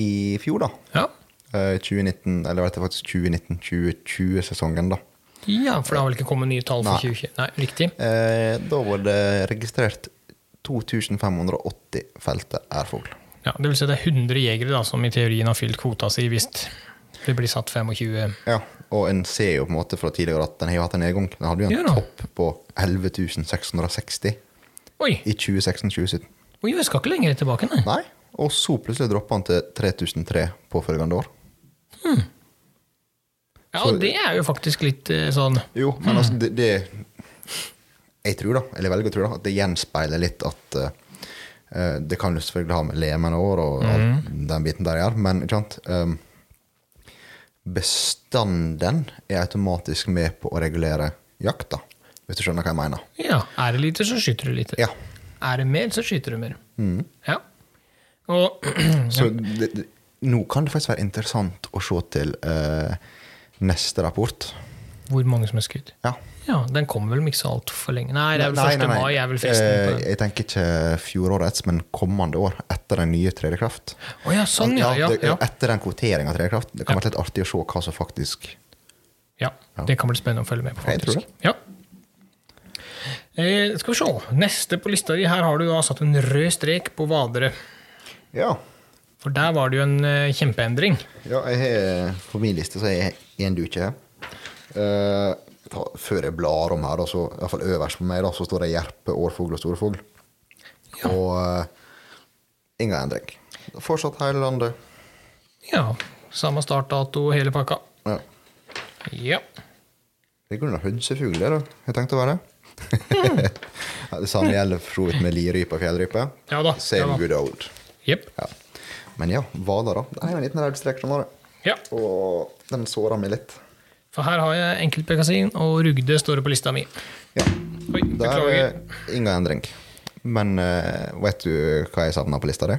S1: I fjor, da.
S2: Ja.
S1: eh, 2019, eller var dette faktisk 2019-2020-sesongen, da.
S2: ja, for det har vel ikke kommet nye tall for
S1: Nei.
S2: 2020? Nei, riktig.
S1: Eh, da var det registrert 2580 felte ærfugl.
S2: Ja, det vil si det er 100 jegere da, som i teorien har fylt kvota si hvis det blir satt 25
S1: Ja, og en ser jo på en måte fra tidligere at den har jo hatt en nedgang. Den hadde jo en
S2: Ja da.
S1: topp på 11.660
S2: Oi,
S1: i 2016-2017.
S2: oi, vi skal ikke lenger tilbake, nei.
S1: Nei, og så plutselig droppa han til 3003 påfølgende år.
S2: Ja, og det er jo faktisk litt eh, sånn
S1: Jo, men altså, det, det Jeg tror, da, eller velger å tro, da, at det gjenspeiler litt at eh, Det kan jo selvfølgelig ha med lemende år og alt
S2: Mhm.
S1: den biten der å gjøre, men ikke sant ehm, Bestanden er automatisk med på å regulere jakta, hvis du skjønner hva jeg mener.
S2: Ja, er det lite, så skyter du lite.
S1: Ja. Mm.
S2: Er det mer, så skyter du mer. Ja. Og
S1: Så det, det, nå kan det faktisk være interessant å se til eh, neste rapport.
S2: hvor mange som er skutt?
S1: Ja.
S2: Ja, den kommer vel om ikke så altfor lenge. Nei, det er vel
S1: Nei,
S2: 1.
S1: nei, nei.
S2: mai er vel festen. på
S1: Eh,
S2: den.
S1: jeg tenker ikke fjorårets, men kommende år, etter den nye tredje kraft.
S2: Å ja, sånn, ja. Ja,
S1: det,
S2: ja.
S1: Etter den kvoteringa av tredje kraft. Det kan være litt artig å se hva som faktisk
S2: ja. Det kan bli spennende å følge med på,
S1: Jeg tror
S2: faktisk. Ja. Eh, skal vi se. Neste på lista di, her har du da satt en rød strek på Vadere.
S1: Ja.
S2: For der var det jo en eh, kjempeendring.
S1: ja jeg har, på min liste så er jeg én du ikke har. Eh, ta- før jeg blar om her, da, så, i hvert fall øverst på meg, da, så står det jerpe, årfugl og storfugl. Og eh, ingen endring. Fortsatt hele landet.
S2: Ja. Samme startdato, hele pakka.
S1: Ja.
S2: Ja.
S1: Det er grunnen av hønsefugler, da. Jeg tenkte å være ja, det. samme gjelder for så vidt med lirype og fjellrype.
S2: Ja da,
S1: Same
S2: ja da.
S1: good old.
S2: Jepp.
S1: Ja. Men ja, vader, da. Det er jo en liten rød strek fra Norge.
S2: Ja.
S1: Og den sårer meg litt.
S2: For her har jeg enkeltbekasin, og Rugde står det på lista mi.
S1: Ja. Der
S2: Oi,
S1: eh,
S2: beklager.
S1: er ingen endring. Men eh, vet du hva jeg savna på lista di?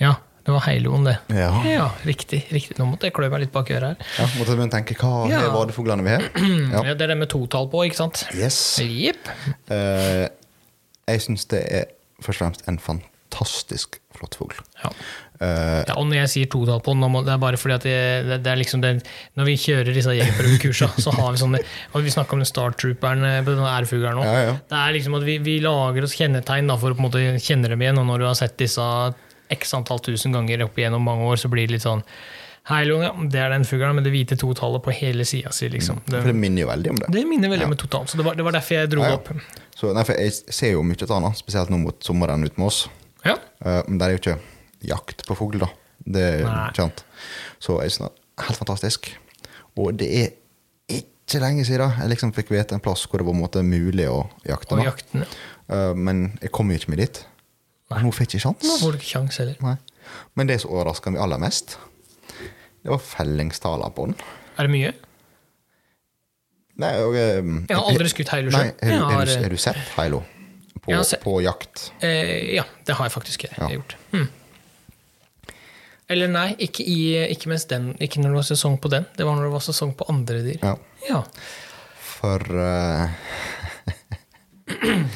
S2: Ja, det var heiloen, det.
S1: Ja.
S2: ja, riktig. riktig. Nå måtte jeg klø meg litt bak øret her.
S1: Ja, måtte begynne å tenke hva
S2: Ja.
S1: er vadefuglene vi har?
S2: Ja.
S1: Ja.
S2: Det er det med totall på, ikke sant?
S1: Yes.
S2: Jepp.
S1: Eh, jeg syns det er først og fremst en fantastisk flott fugl.
S2: Ja.
S1: Eh,
S2: ja, og når jeg sier totall på, nå må, det er bare fordi at det, det, det er liksom den, Når vi kjører disse jegerprøvekursa, så har vi sånne og Vi snakker om den Star Trooperen eh, på denne ærfuglen nå.
S1: Ja, ja.
S2: Det er liksom at vi, vi lager oss kjennetegn da, for å på en måte kjenne dem igjen. Og når du har sett disse x antall tusen ganger opp igjennom mange år, så blir det litt sånn Hei, Lunge, det er den fuglen med det hvite totallet på hele sida si, liksom.
S1: Mm.
S2: Det,
S1: for det minner jo veldig om det.
S2: det minner veldig om et totalt, så det var, det var derfor jeg dro
S1: Ja, ja.
S2: det opp.
S1: Så, nei, for jeg ser jo mye annet, spesielt nå mot sommeren ute med oss.
S2: Ja.
S1: Eh, men det er jo ikke jakt på fugl, da. Det er
S2: Nei.
S1: kjent. Så jeg synes det er helt fantastisk. Og det er ikke lenge siden jeg liksom fikk vite en plass hvor det var på en måte mulig å jakte.
S2: Og
S1: da.
S2: jakten. ja.
S1: Eh, men jeg kom jo ikke meg dit.
S2: Nei.
S1: Nå fikk jeg ikke
S2: Nå
S1: sjans.
S2: får du ikke kjangs heller.
S1: Nei. Men det som overraska meg aller mest, det var fellingstallene på den.
S2: Er det mye?
S1: Nei, og, eh,
S2: Jeg har aldri skutt heilo
S1: Nei,
S2: sjøl.
S1: har,
S2: Jeg
S1: du- har,
S2: har,
S1: du- har du sett Heilo? På,
S2: Jeg har sett-
S1: på jakt?
S2: eh, ja, det har jeg faktisk jeg
S1: Ja.
S2: har gjort. Mm. Eller nei, ikke, i, ikke, mens den, ikke når det var sesong på den. Det var når det var sesong på andre dyr.
S1: Ja.
S2: Ja.
S1: For eh,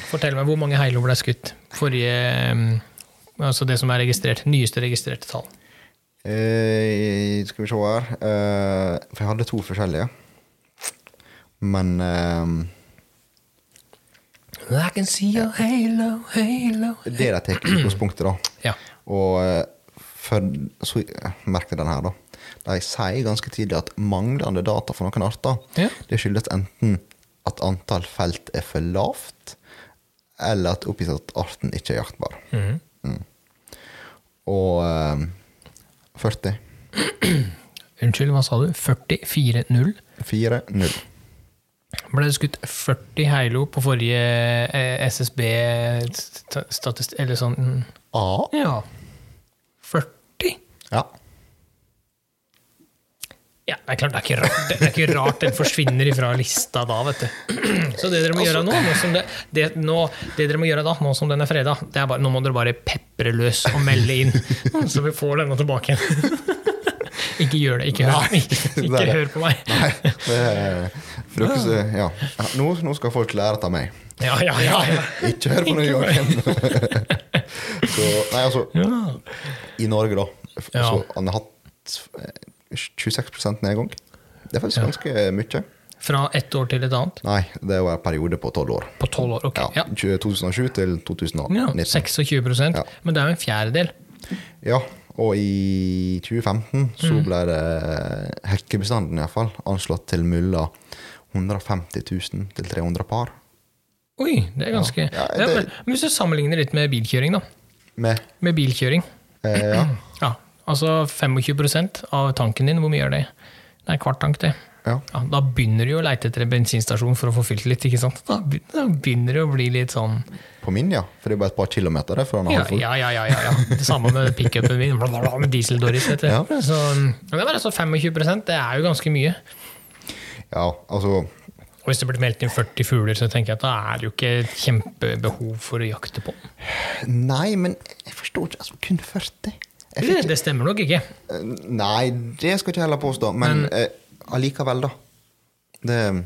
S2: Fortell meg, hvor mange heilo ble skutt? Forrige mm, Altså det som er registrert. Nyeste registrerte tall.
S1: eh, Skal vi se her eh, For jeg hadde to forskjellige. Men eh,
S2: I can see a halo, halo
S1: det de tar i utgangspunktet, da
S2: Ja.
S1: Og eh, for, så merket jeg den her, da. De sier ganske tidlig at manglende data for noen arter
S2: Ja.
S1: det skyldes enten at antall felt er for lavt, eller at oppgitt at arten ikke er jaktbar. Mm. Og eh, 40.
S2: Unnskyld, hva sa du? 40-4-0?
S1: 4-0.
S2: ble det skutt 40 heilo på forrige eh, SSB-statist... Eller sånn mm.
S1: A.
S2: Ja. 40?
S1: Ja.
S2: Ja, det er klart, det er ikke rart, det er ikke rart den forsvinner ifra lista da, vet du. Så det dere må gjøre nå, nå som det, det, nå, det dere må gjøre da, nå som den er freda, det er bare, nå må dere bare pepre løs og melde inn, så vi får denne tilbake igjen. Ikke gjør det. Ikke hør, ikke, ikke hør på meg.
S1: Nei, det er for dere som- ja. Ja, nå, nå skal folk lære av meg.
S2: Ja, ja, ja. ja.
S1: Ikke hør på noe, Joakim! Så, nei, altså,
S2: ja.
S1: i Norge, da. f-
S2: Ja.
S1: Så han har hatt eh, 26 nedgang. Det er faktisk ganske mye.
S2: Fra ett år til et annet.
S1: Nei, det var en periode på tolv år.
S2: På tolv år. Ok.
S1: Ja,
S2: Ja.
S1: 20- 2007 til 2019.
S2: Ja,
S1: Ja,
S2: 26
S1: sånn. Ja.
S2: men det er jo en fjerdedel.
S1: og i 2015 så
S2: Mm.
S1: ble det hekkebestanden i hvert fall anslått til mulla 150 000 til 300 par.
S2: Oi, det er ganske
S1: Ja,
S2: ja,
S1: det-
S2: men, men Hvis du sammenligner litt med bilkjøring, da.
S1: Med
S2: Med bilkjøring.
S1: eh, ja,
S2: Ja, altså 25 av tanken din, hvor mye gjør det? Det er en kvart tank, det.
S1: ja.
S2: Ja, da begynner du jo å leite etter en bensinstasjon for å få fylt litt, ikke sant? Da be- da begynner det å bli litt sånn
S1: På min, ja. For det er bare et par kilometer der. For han har
S2: Ja,
S1: halvfull.
S2: ja, ja. ja, ja, ja. Det samme med pickupen min, bla, bla, bla, med diesel-Doris, vet du.
S1: Ja.
S2: Så, men det var altså 25 det er jo ganske mye.
S1: ja, altså
S2: Og hvis det blir meldt inn 40 fugler, så tenker jeg at da er det jo ikke et kjempebehov for å jakte på.
S1: Nei, men jeg forstår ikke. Altså, kun 40? Jeg
S2: Det, det stemmer nok ikke.
S1: Eh, Nei, det skal jeg ikke heller påstå, men eh, allikevel, da. Det,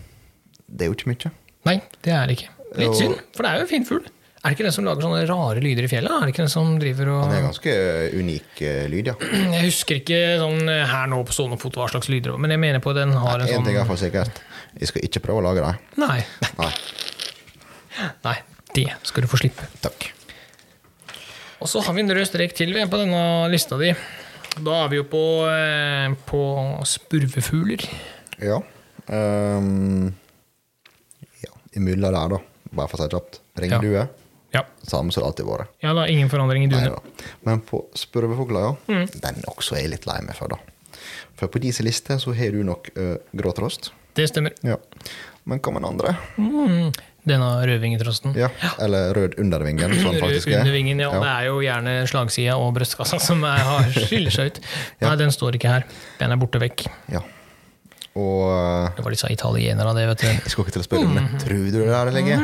S1: det er jo ikke mye.
S2: Nei, det er det ikke.
S1: Jo.
S2: Litt synd, for det er jo en fin fugl. Er det ikke den som lager sånne rare lyder i fjellet? da? Er det ikke den som driver og
S1: Det er ganske eh, unik eh, lyd, ja.
S2: Jeg husker ikke sånn eh, her nå på stående fot hva slags lyder det var, men jeg mener på at den har en
S1: Én ting er i
S2: sånn
S1: hvert fall sikkert. Jeg skal ikke prøve å lage det.
S2: Nei.
S1: Nei,
S2: Nei, det skal du få slippe.
S1: takk.
S2: Og så har vi en rød strek til vi, på denne lista di. Da er vi jo på, eh, på spurvefugler.
S1: Ja. Um, ja. Imellom der, da. Bare for å si det kjapt. Ringdue.
S2: Ja.
S1: Samme som det alltid har vært.
S2: ja da, ingen forandring i
S1: Nei
S2: dunet.
S1: da. Men på spurvefugler, ja.
S2: Mm.
S1: Den også er jeg litt lei meg for, da. For på deres liste så har du nok uh, gråtrost.
S2: Det stemmer.
S1: Ja. Men hva med den andre?
S2: Mm. Denne rødvingetrosten.
S1: Ja, eller rød under vingen, som den faktisk er.
S2: Under vingen, ja.
S1: Ja.
S2: Det er jo gjerne slagsida og brystkassa som er, har, skiller seg ut. Nei, den står ikke her. Den er borte vekk.
S1: Ja. Og eh,
S2: Det var disse italienerne, det, vet du.
S1: jeg skulle ikke til å spørre om det.
S2: Mm.
S1: Tror du det er det lenge?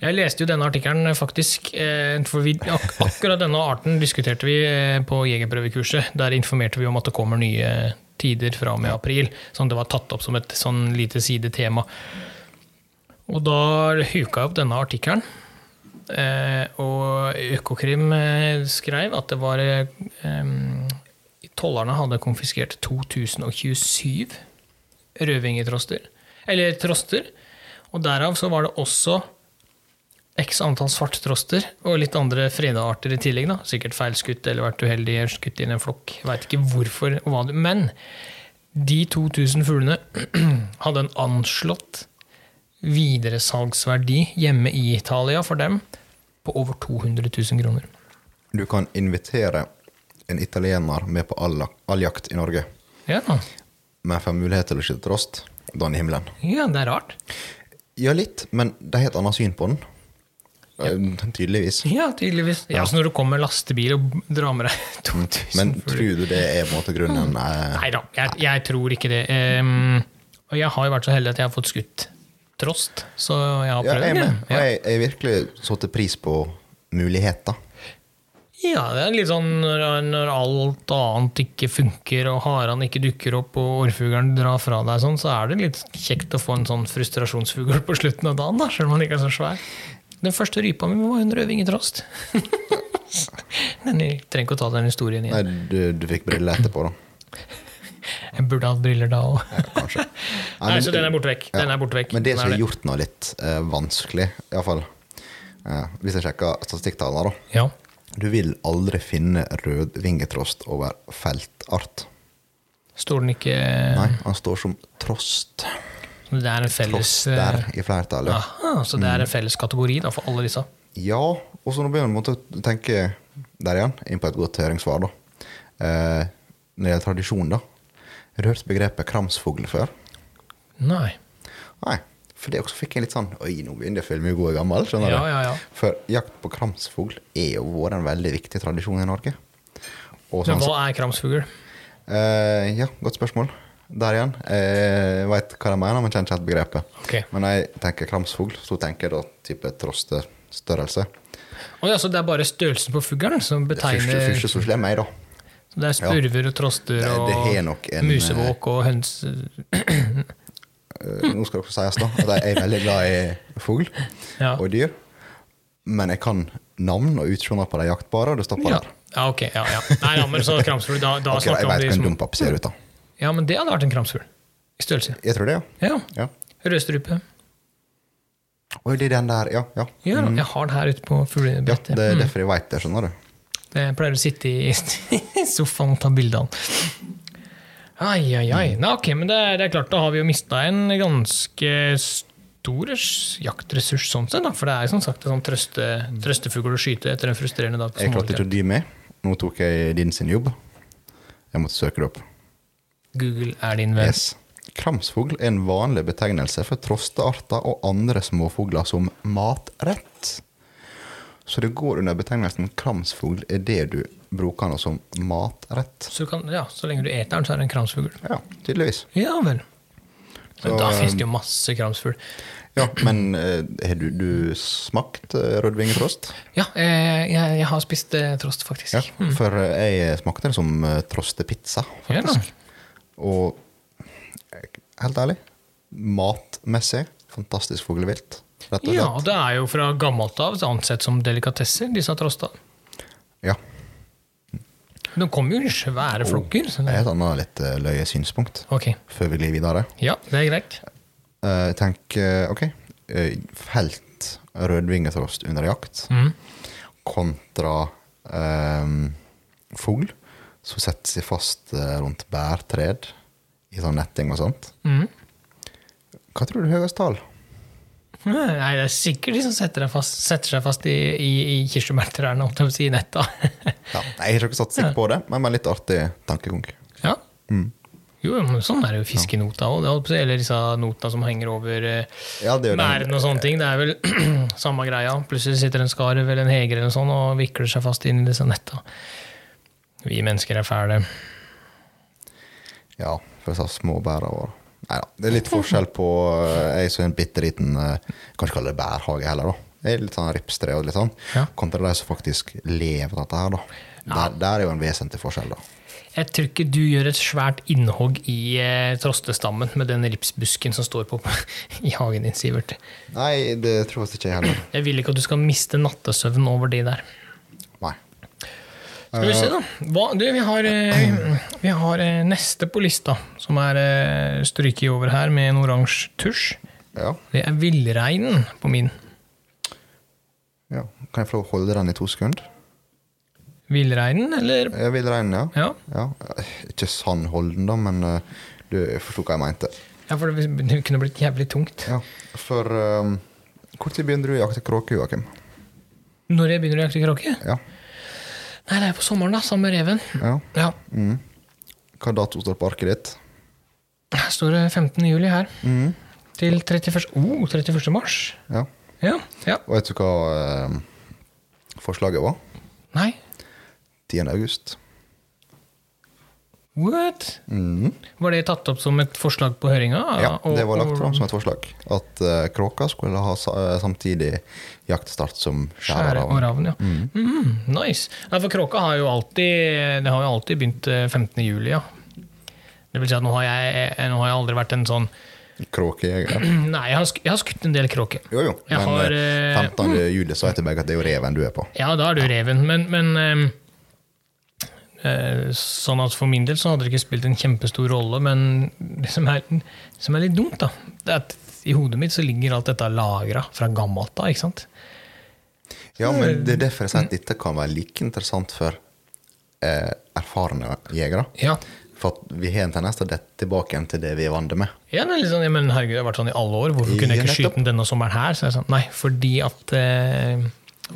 S2: Jeg leste jo denne artikkelen, faktisk. eh, For vi, ak akkurat denne arten diskuterte vi eh, på jegerprøvekurset. Der informerte vi om at det kommer nye tider fra og med april. Sånn det var tatt opp som et sånn lite sidetema. Og da huka jeg opp denne artikkelen. Eh, og Økokrim eh, skrev at det var eh, em, Tollerne hadde konfiskert 2027 rødvingetroster. Eller troster. Og derav så var det også x antall svarttroster og litt andre freda arter i tillegg. da. Sikkert feilskutt eller vært uheldig eller skutt inn i en flokk. Veit ikke hvorfor og hva det Men de 2000 fuglene hadde en anslått videresalgsverdi hjemme i Italia for dem på over 200 000 kroner.
S1: Du kan invitere en italiener med på all, all jakt i Norge,
S2: Ja,
S1: men får mulighet til å skyte trost, da er den i himmelen.
S2: ja det er rart.
S1: Ja, litt, men de har et annet syn på den. Eh, Tydeligvis.
S2: Ja, tydeligvis. Ja, så når du kommer med lastebil og drar med deg 2000
S1: Men tror du det er på en måte grunnen? eh,
S2: Nei da, jeg, jeg tror ikke det. Ehm, og jeg har jo vært så heldig at jeg har fått skutt trost, så jeg har
S1: Ja,
S2: prøvd
S1: jeg,
S2: det.
S1: med. Og
S2: Ja.
S1: jeg, jeg har virkelig satt pris på muligheter.
S2: ja, det er litt sånn når, når alt annet ikke funker, og haren ikke dukker opp, og orrfuglen drar fra deg, sånn, så er det litt kjekt å få en sånn frustrasjonsfugl på slutten av dagen, da, selv om den ikke er så svær. Den første rypa mi var en rødvinget trost. Men jeg trenger ikke å ta den historien igjen.
S1: Nei, du, du fikk briller etterpå, da.
S2: Jeg burde hatt briller da òg.
S1: Kanskje.
S2: Nei, så den er borte vekk. Den er borte vekk.
S1: Men det
S2: Den
S1: som
S2: er
S1: har gjort noe litt eh, vanskelig, iallfall uh, Hvis jeg sjekker statistikktallene, da.
S2: Ja.
S1: Du vil aldri finne rødvingetrost over feltart.
S2: Står den ikke
S1: Nei, han står som trost.
S2: Det er en felles
S1: Trost der
S2: eh,
S1: i flertallet.
S2: Aha, så det er
S1: Mm.
S2: en felles kategori da, for alle disse.
S1: Ja, og så nå begynner man å tenke der igjen, inn på et godt høringssvar. da. Eh, når det gjelder tradisjon, da. Har du hørt begrepet kramsfugl før?
S2: Nei.
S1: Nei. For det også fikk jeg litt sånn Oi, nå begynner jeg å føle meg god og gammel. skjønner
S2: Ja,
S1: du?
S2: ja, ja.
S1: For jakt på kramsfugl er jo vært en veldig viktig tradisjon i Norge. Og
S2: Men
S1: sånn,
S2: hva er kramsfugl?
S1: eh, ja, godt spørsmål. Der igjen. Eh, jeg vet hva de mener, men kjenner ikke helt begrepet.
S2: Ok.
S1: Men når jeg tenker kramsfugl, så tenker jeg da type trostestørrelse.
S2: Å ja, så det er bare størrelsen på fuglen som
S1: Første,
S2: betegner
S1: første som slår meg, da.
S2: Det er spurver og troster
S1: Det- det har
S2: og
S1: nok en,
S2: musevåk og høns
S1: Eh, Nå skal det også sies da, at jeg er veldig glad i fugl
S2: Ja.
S1: og dyr. Men jeg kan navn og utsjoner på de jaktbare, og det stopper
S2: ja.
S1: der.
S2: ja, ok. Ja, ja. Nei, ja, men så kramsfugl Da, da
S1: Ok, jeg
S2: snakker vi om
S1: vet
S2: de
S1: hvem
S2: som
S1: dumpap ser ut, da.
S2: Ja, men det hadde vært en kramsfugl. I størrelse.
S1: Jeg tror det, ja.
S2: Ja.
S1: ja.
S2: Rødstrupe.
S1: Oi, det er den der, ja. ja.
S2: Ja, da, jeg har den her ute på
S1: Mm. ja
S2: fuglebrettet.
S1: det er derfor jeg veit det, skjønner du.
S2: Jeg pleier å sitte i i sofaen og ta bilder av den. Ai, ai, ai. Nei, ok, men det er, det er klart, da har vi jo mista en ganske stor res- jaktressurs sånn sett, da. For det er jo som sagt en sånn trøste, trøstefugl å skyte etter en frustrerende dag. på
S1: Jeg klarte ikke
S2: sommerfjell.
S1: å dy meg. Nå tok jeg din sin jobb. Jeg måtte søke det opp.
S2: Google er din venn.
S1: Yes. Kramsfugl er en vanlig betegnelse for trostearter og andre småfugler som matrett. Så det går under betegnelsen kramsfugl er det du bruker nå som matrett.
S2: Så, du kan, ja, så lenge du eter den, så er det en kramsfugl.
S1: Ja, tydeligvis.
S2: Ja vel. Men
S1: Så, um,
S2: da fins det jo masse kramsfugl.
S1: Ja, men eh, har du, du smakt eh, rødvingetrost?
S2: Ja, eh, jeg, jeg har spist eh, trost, faktisk.
S1: Ja, for eh, jeg smakte det som eh, trostepizza,
S2: Ja, da.
S1: faktisk. Og eh, helt ærlig, matmessig fantastisk fuglevilt. Rett og
S2: Ja,
S1: slett.
S2: det er jo fra gammelt av ansett som delikatesser, disse trostene.
S1: Ja.
S2: De kommer jo i svære flokker. Så
S1: Det
S2: det,
S1: er et annet litt eh, løye synspunkt
S2: ok,
S1: før vi glir videre.
S2: ja, det er greit.
S1: Eh, tenk, eh, ok, eh, felt rødvingetrost under jakt
S2: Mm.
S1: kontra eh, fugl som setter seg fast eh, rundt bærtred i sånn netting og sånt.
S2: Mm.
S1: Hva tror du er høyest tall?
S2: Nei, det er sikkert de som setter, deg fast, setter seg fast i, i, i kirsebærtrærne, holdt jeg på å si, i netta.
S1: Ja, nei, jeg har ikke satt sikker på det, men med litt artig tankekonk.
S2: ja.
S1: Mm.
S2: Jo, men sånn er det jo fiskenota òg. Eller disse nota som henger over eh,
S1: Ja, det sånn er jo den.
S2: merden og sånne ting. Det er vel samme greia. Plutselig sitter en skarv eller en heger eller sånn og vikler seg fast inn i disse netta. Vi mennesker er fæle.
S1: Ja, for disse små bæra våre. Nei da. Det er litt forskjell på eh, Jeg som er en bitte liten eh, Kanskje kalle det bærhage heller, da. Det er litt sånn ripstre og litt sånn.
S2: Ja.
S1: Kontra de som faktisk lever av dette her, da. Der, der er jo en vesentlig forskjell, da.
S2: Jeg tror ikke du gjør et svært innhogg i eh, trostestammen med den ripsbusken som står på i hagen din, Sivert.
S1: Nei, det tror jeg ikke jeg heller.
S2: Jeg vil ikke at du skal miste nattesøvnen over det der.
S1: Nei.
S2: Skal vi se, da. Hva, du, vi har, eh, vi har eh, neste på lista, som er eh, stryket over her med en oransje tusj.
S1: Ja.
S2: Det er villreinen på min.
S1: ja. Kan jeg få lov å holde den i to sekunder?
S2: Villreinen, eller?
S1: Jeg vil regne, ja.
S2: Ja.
S1: ja. eh, Ikke sann holden, da, men eh, du forsto hva jeg mente.
S2: ja, for det, det kunne blitt jævlig tungt.
S1: Ja. For um, Hvor tid begynner du å jakte kråke, Joakim?
S2: Når jeg begynner å jakte kråke?
S1: Ja.
S2: Nei, det er på sommeren, da, sammen med reven.
S1: ja.
S2: Ja,
S1: Mm. Hva dato står på arket ditt?
S2: Her står det 15. juli her.
S1: Mm.
S2: Til 31. Oh, 31. mars.
S1: Ja.
S2: Ja. ja.
S1: Og vet du hva um, forslaget var?
S2: Nei.
S1: 10. august.
S2: What?
S1: Mm.
S2: Var det tatt opp som et forslag på høringa?
S1: Ja,
S2: Og-
S1: det var lagt
S2: og-
S1: fram som et forslag. At eh, kråka skulle ha sa eh, samtidig jaktstart som
S2: Skjære og
S1: skjæreravn.
S2: ravn, ja.
S1: Mm.
S2: Mhm, nice. Nei, for kråka har jo alltid Det har jo alltid begynt eh, 15. juli, ja. Det vil si at nå har jeg, eh, nå har jeg aldri vært en sånn
S1: Kråkejeger.
S2: Nei, jeg har, sk jeg har skutt en del kråker.
S1: Jo, jo.
S2: Jeg
S1: Men
S2: har,
S1: eh,
S2: eh,
S1: 15. juli så vet jeg begge at det er jo reven du er på.
S2: Ja, da er du reven, men, men ehm, eh, Sånn at For min del så hadde det ikke spilt en kjempestor rolle, men det som er, som er litt dumt, da, det er at i hodet mitt så ligger alt dette lagra fra gammelt av. ikke sant?
S1: Ja, men det er derfor jeg sier at dette kan være like interessant for eh, erfarne jegere.
S2: Ja.
S1: For at vi har en tendens til å dette tilbake igjen til det vi er vant med.
S2: Ja, det er litt sånn, ja, men herregud, jeg har vært sånn i alle år. Hvorfor kunne jeg
S1: Ja,
S2: ikke
S1: nettopp.
S2: skyte den denne sommeren her? Så jeg sa, nei, fordi at eh,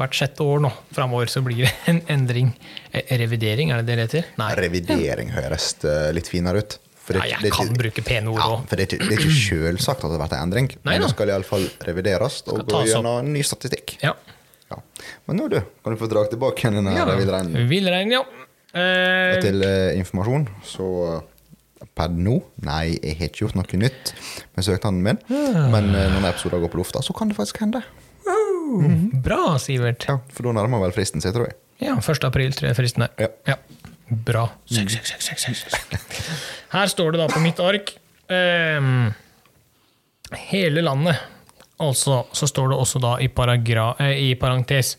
S2: hvert sjette år nå framover så blir det en endring. Eh, Revidering, er det det det heter? Nei.
S1: Revidering høres eh, litt finere ut. For
S2: Ja, jeg kan bruke pene ord
S1: ja,
S2: òg.
S1: for det er ikke, det er ikke selvsagt at det har vært en endring,
S2: Nei
S1: men det
S2: da.
S1: skal iallfall revideres og
S2: Skal
S1: gå
S2: tas opp.
S1: gjennom ny statistikk.
S2: Ja.
S1: Ja. Men nå, du, kan du få dra tilbake igjen denne
S2: Ja.
S1: revideringen.
S2: Villrein, ja. Eh,
S1: Og til eh, informasjon, så eh, per nå Nei, jeg har ikke gjort noe nytt med søknaden min.
S2: Ah.
S1: Men eh, når denne episoden går på lufta, så kan det faktisk hende.
S2: Bra, Sivert.
S1: Ja, For da nærmer vel fristen seg, tror jeg.
S2: Ja, 1. april, tror jeg fristen er.
S1: Ja.
S2: Bra. Søk, søk, søk, søk, søk, søk. Her står det da på mitt ark ehm, Hele landet. Altså, så står det også da i, paragra, eh, i parentes